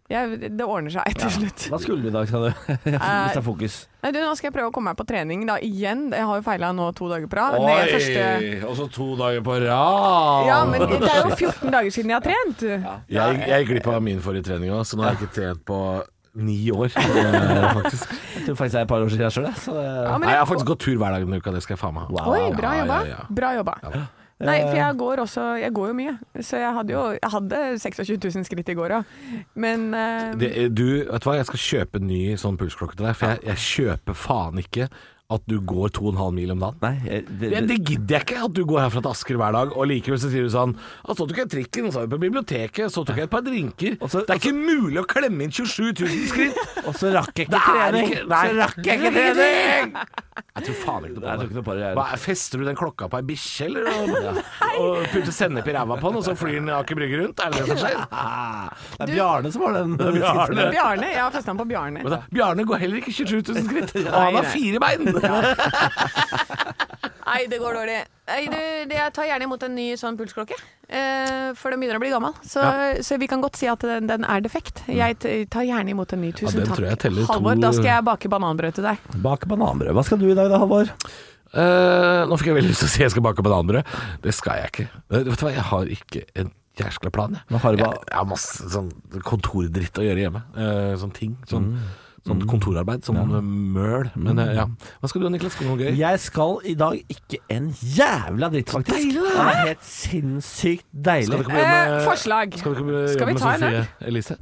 Speaker 5: jeg, Det ordner seg til slutt.
Speaker 3: Hva skulle du i dag, sa du? Jeg mista fokus.
Speaker 5: Nei, du, nå skal jeg prøve å komme meg på trening da, igjen. Jeg har jo feila nå to dager på rad. Det er første-
Speaker 4: Og så to dager på rad!
Speaker 5: Ja, men det er jo 14 dager siden jeg har trent.
Speaker 4: Jeg, jeg gikk glipp av min forrige trening òg, så nå har jeg ikke trent på ni år. eh, faktisk.
Speaker 3: Jeg tror faktisk jeg er et par år siden jeg sjøl, jeg. Så eh, det-
Speaker 5: Ja, men
Speaker 4: Nei, jeg har faktisk gått tur hver dag denne uka, det skal jeg faen meg ha.
Speaker 5: Oi, bra
Speaker 4: Ja,
Speaker 5: jobba.
Speaker 4: ja, ja.
Speaker 5: Bra jobba. Nei, for jeg går også Jeg går jo mye. Så jeg hadde jo Jeg hadde 26 000 skritt i går òg. Men eh,
Speaker 4: Det, du, vet du hva, jeg skal kjøpe en ny sånn pulsklokke til deg, for jeg, jeg kjøper faen ikke at du går 2,5 mil om dagen.
Speaker 3: Nei, jeg- det,
Speaker 4: Det, det gidder jeg ikke, at du går herfra til Asker hver dag, og likevel så sier du sånn «Ah, Så tok jeg trikken, så var jeg på biblioteket, så tok jeg et par drinker
Speaker 3: Og så-
Speaker 4: Det er ikke mulig å klemme inn 27 000 skritt!
Speaker 3: Og så rakk jeg
Speaker 4: Det
Speaker 3: ikke
Speaker 4: er
Speaker 3: trening.
Speaker 4: ikke Nei.
Speaker 3: Så rakk jeg ikke trening!
Speaker 4: Jeg tror faen ikke
Speaker 3: Nei, jeg tror ikke
Speaker 4: noe
Speaker 3: noe
Speaker 4: på
Speaker 3: på det,
Speaker 4: det.
Speaker 3: jeg.
Speaker 4: Hva, fester du den klokka på ei bikkje, eller? Og, og putter sennep i ræva på den, og så flyr den i Aker Brygge rundt? Er det det som skjer?
Speaker 3: Ah, det er Bjarne som har den.
Speaker 4: Bjarne.
Speaker 5: Bjarne Jeg har festa den på Bjarne.
Speaker 4: Men da, Bjarne går heller ikke 27 000 skritt, og han har
Speaker 5: nei.
Speaker 4: fire bein!
Speaker 5: Nei, det går dårlig. Nei, du, det- jeg tar gjerne imot en ny sånn pulsklokke. eh, for den begynner å bli gammel. Så, så vi kan godt si at den, den er defekt. Jeg t- tar gjerne imot en ny. Tusen
Speaker 4: Mm. den
Speaker 5: takk.
Speaker 4: tror jeg teller to-
Speaker 5: Halvor, da skal jeg bake bananbrød til deg.
Speaker 3: Bak bananbrød. Hva skal du i dag da, Halvor?
Speaker 4: Eh, nå fikk jeg veldig lyst til å si jeg skal bake bananbrød. Det skal jeg ikke. Eh, vet du hva, jeg har ikke en jæskla plan, jeg.
Speaker 3: Men har du
Speaker 4: jeg,
Speaker 3: ba-
Speaker 4: jeg har masse sånn kontordritt å gjøre hjemme. Eh, sånn ting. Sånn,
Speaker 3: Mm.
Speaker 4: sånn kontorarbeid. Sånn eh, møl. Men eh, ja. Hva skal du, Niklas? Skal du noe gøy?
Speaker 3: Jeg skal i dag ikke en jævla dritt, faktisk.
Speaker 4: Deilig,
Speaker 3: det er helt sinnssykt deilig.
Speaker 4: Skal du ikke på jobb med-
Speaker 5: Eh, forslag.
Speaker 4: Skal du ikke på
Speaker 5: Skal
Speaker 4: jobb
Speaker 5: vi
Speaker 4: med
Speaker 5: ta en
Speaker 4: Sofie
Speaker 5: øl?
Speaker 4: Elise?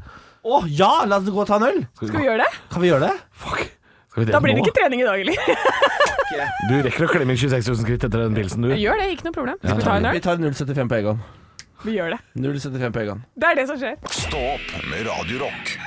Speaker 3: Å ja, la oss gå og ta en øl!
Speaker 5: Skal vi gjøre det?
Speaker 3: Kan vi gjøre det?
Speaker 4: Fuck. Skal vi
Speaker 5: Da blir
Speaker 4: nå?
Speaker 5: det ikke trening i dag, eller?
Speaker 4: Du rekker å klemme inn 26 000 skritt etter den pilsen, du.
Speaker 5: Gjør det, ikke noe problem. Skal vi ta en
Speaker 3: Vi
Speaker 5: øl?
Speaker 3: tar 0,75 på Egon.
Speaker 5: Vi gjør det.
Speaker 3: 0,75 på Egon.
Speaker 5: Det er det som skjer.
Speaker 2: Stå opp med Radio Rock.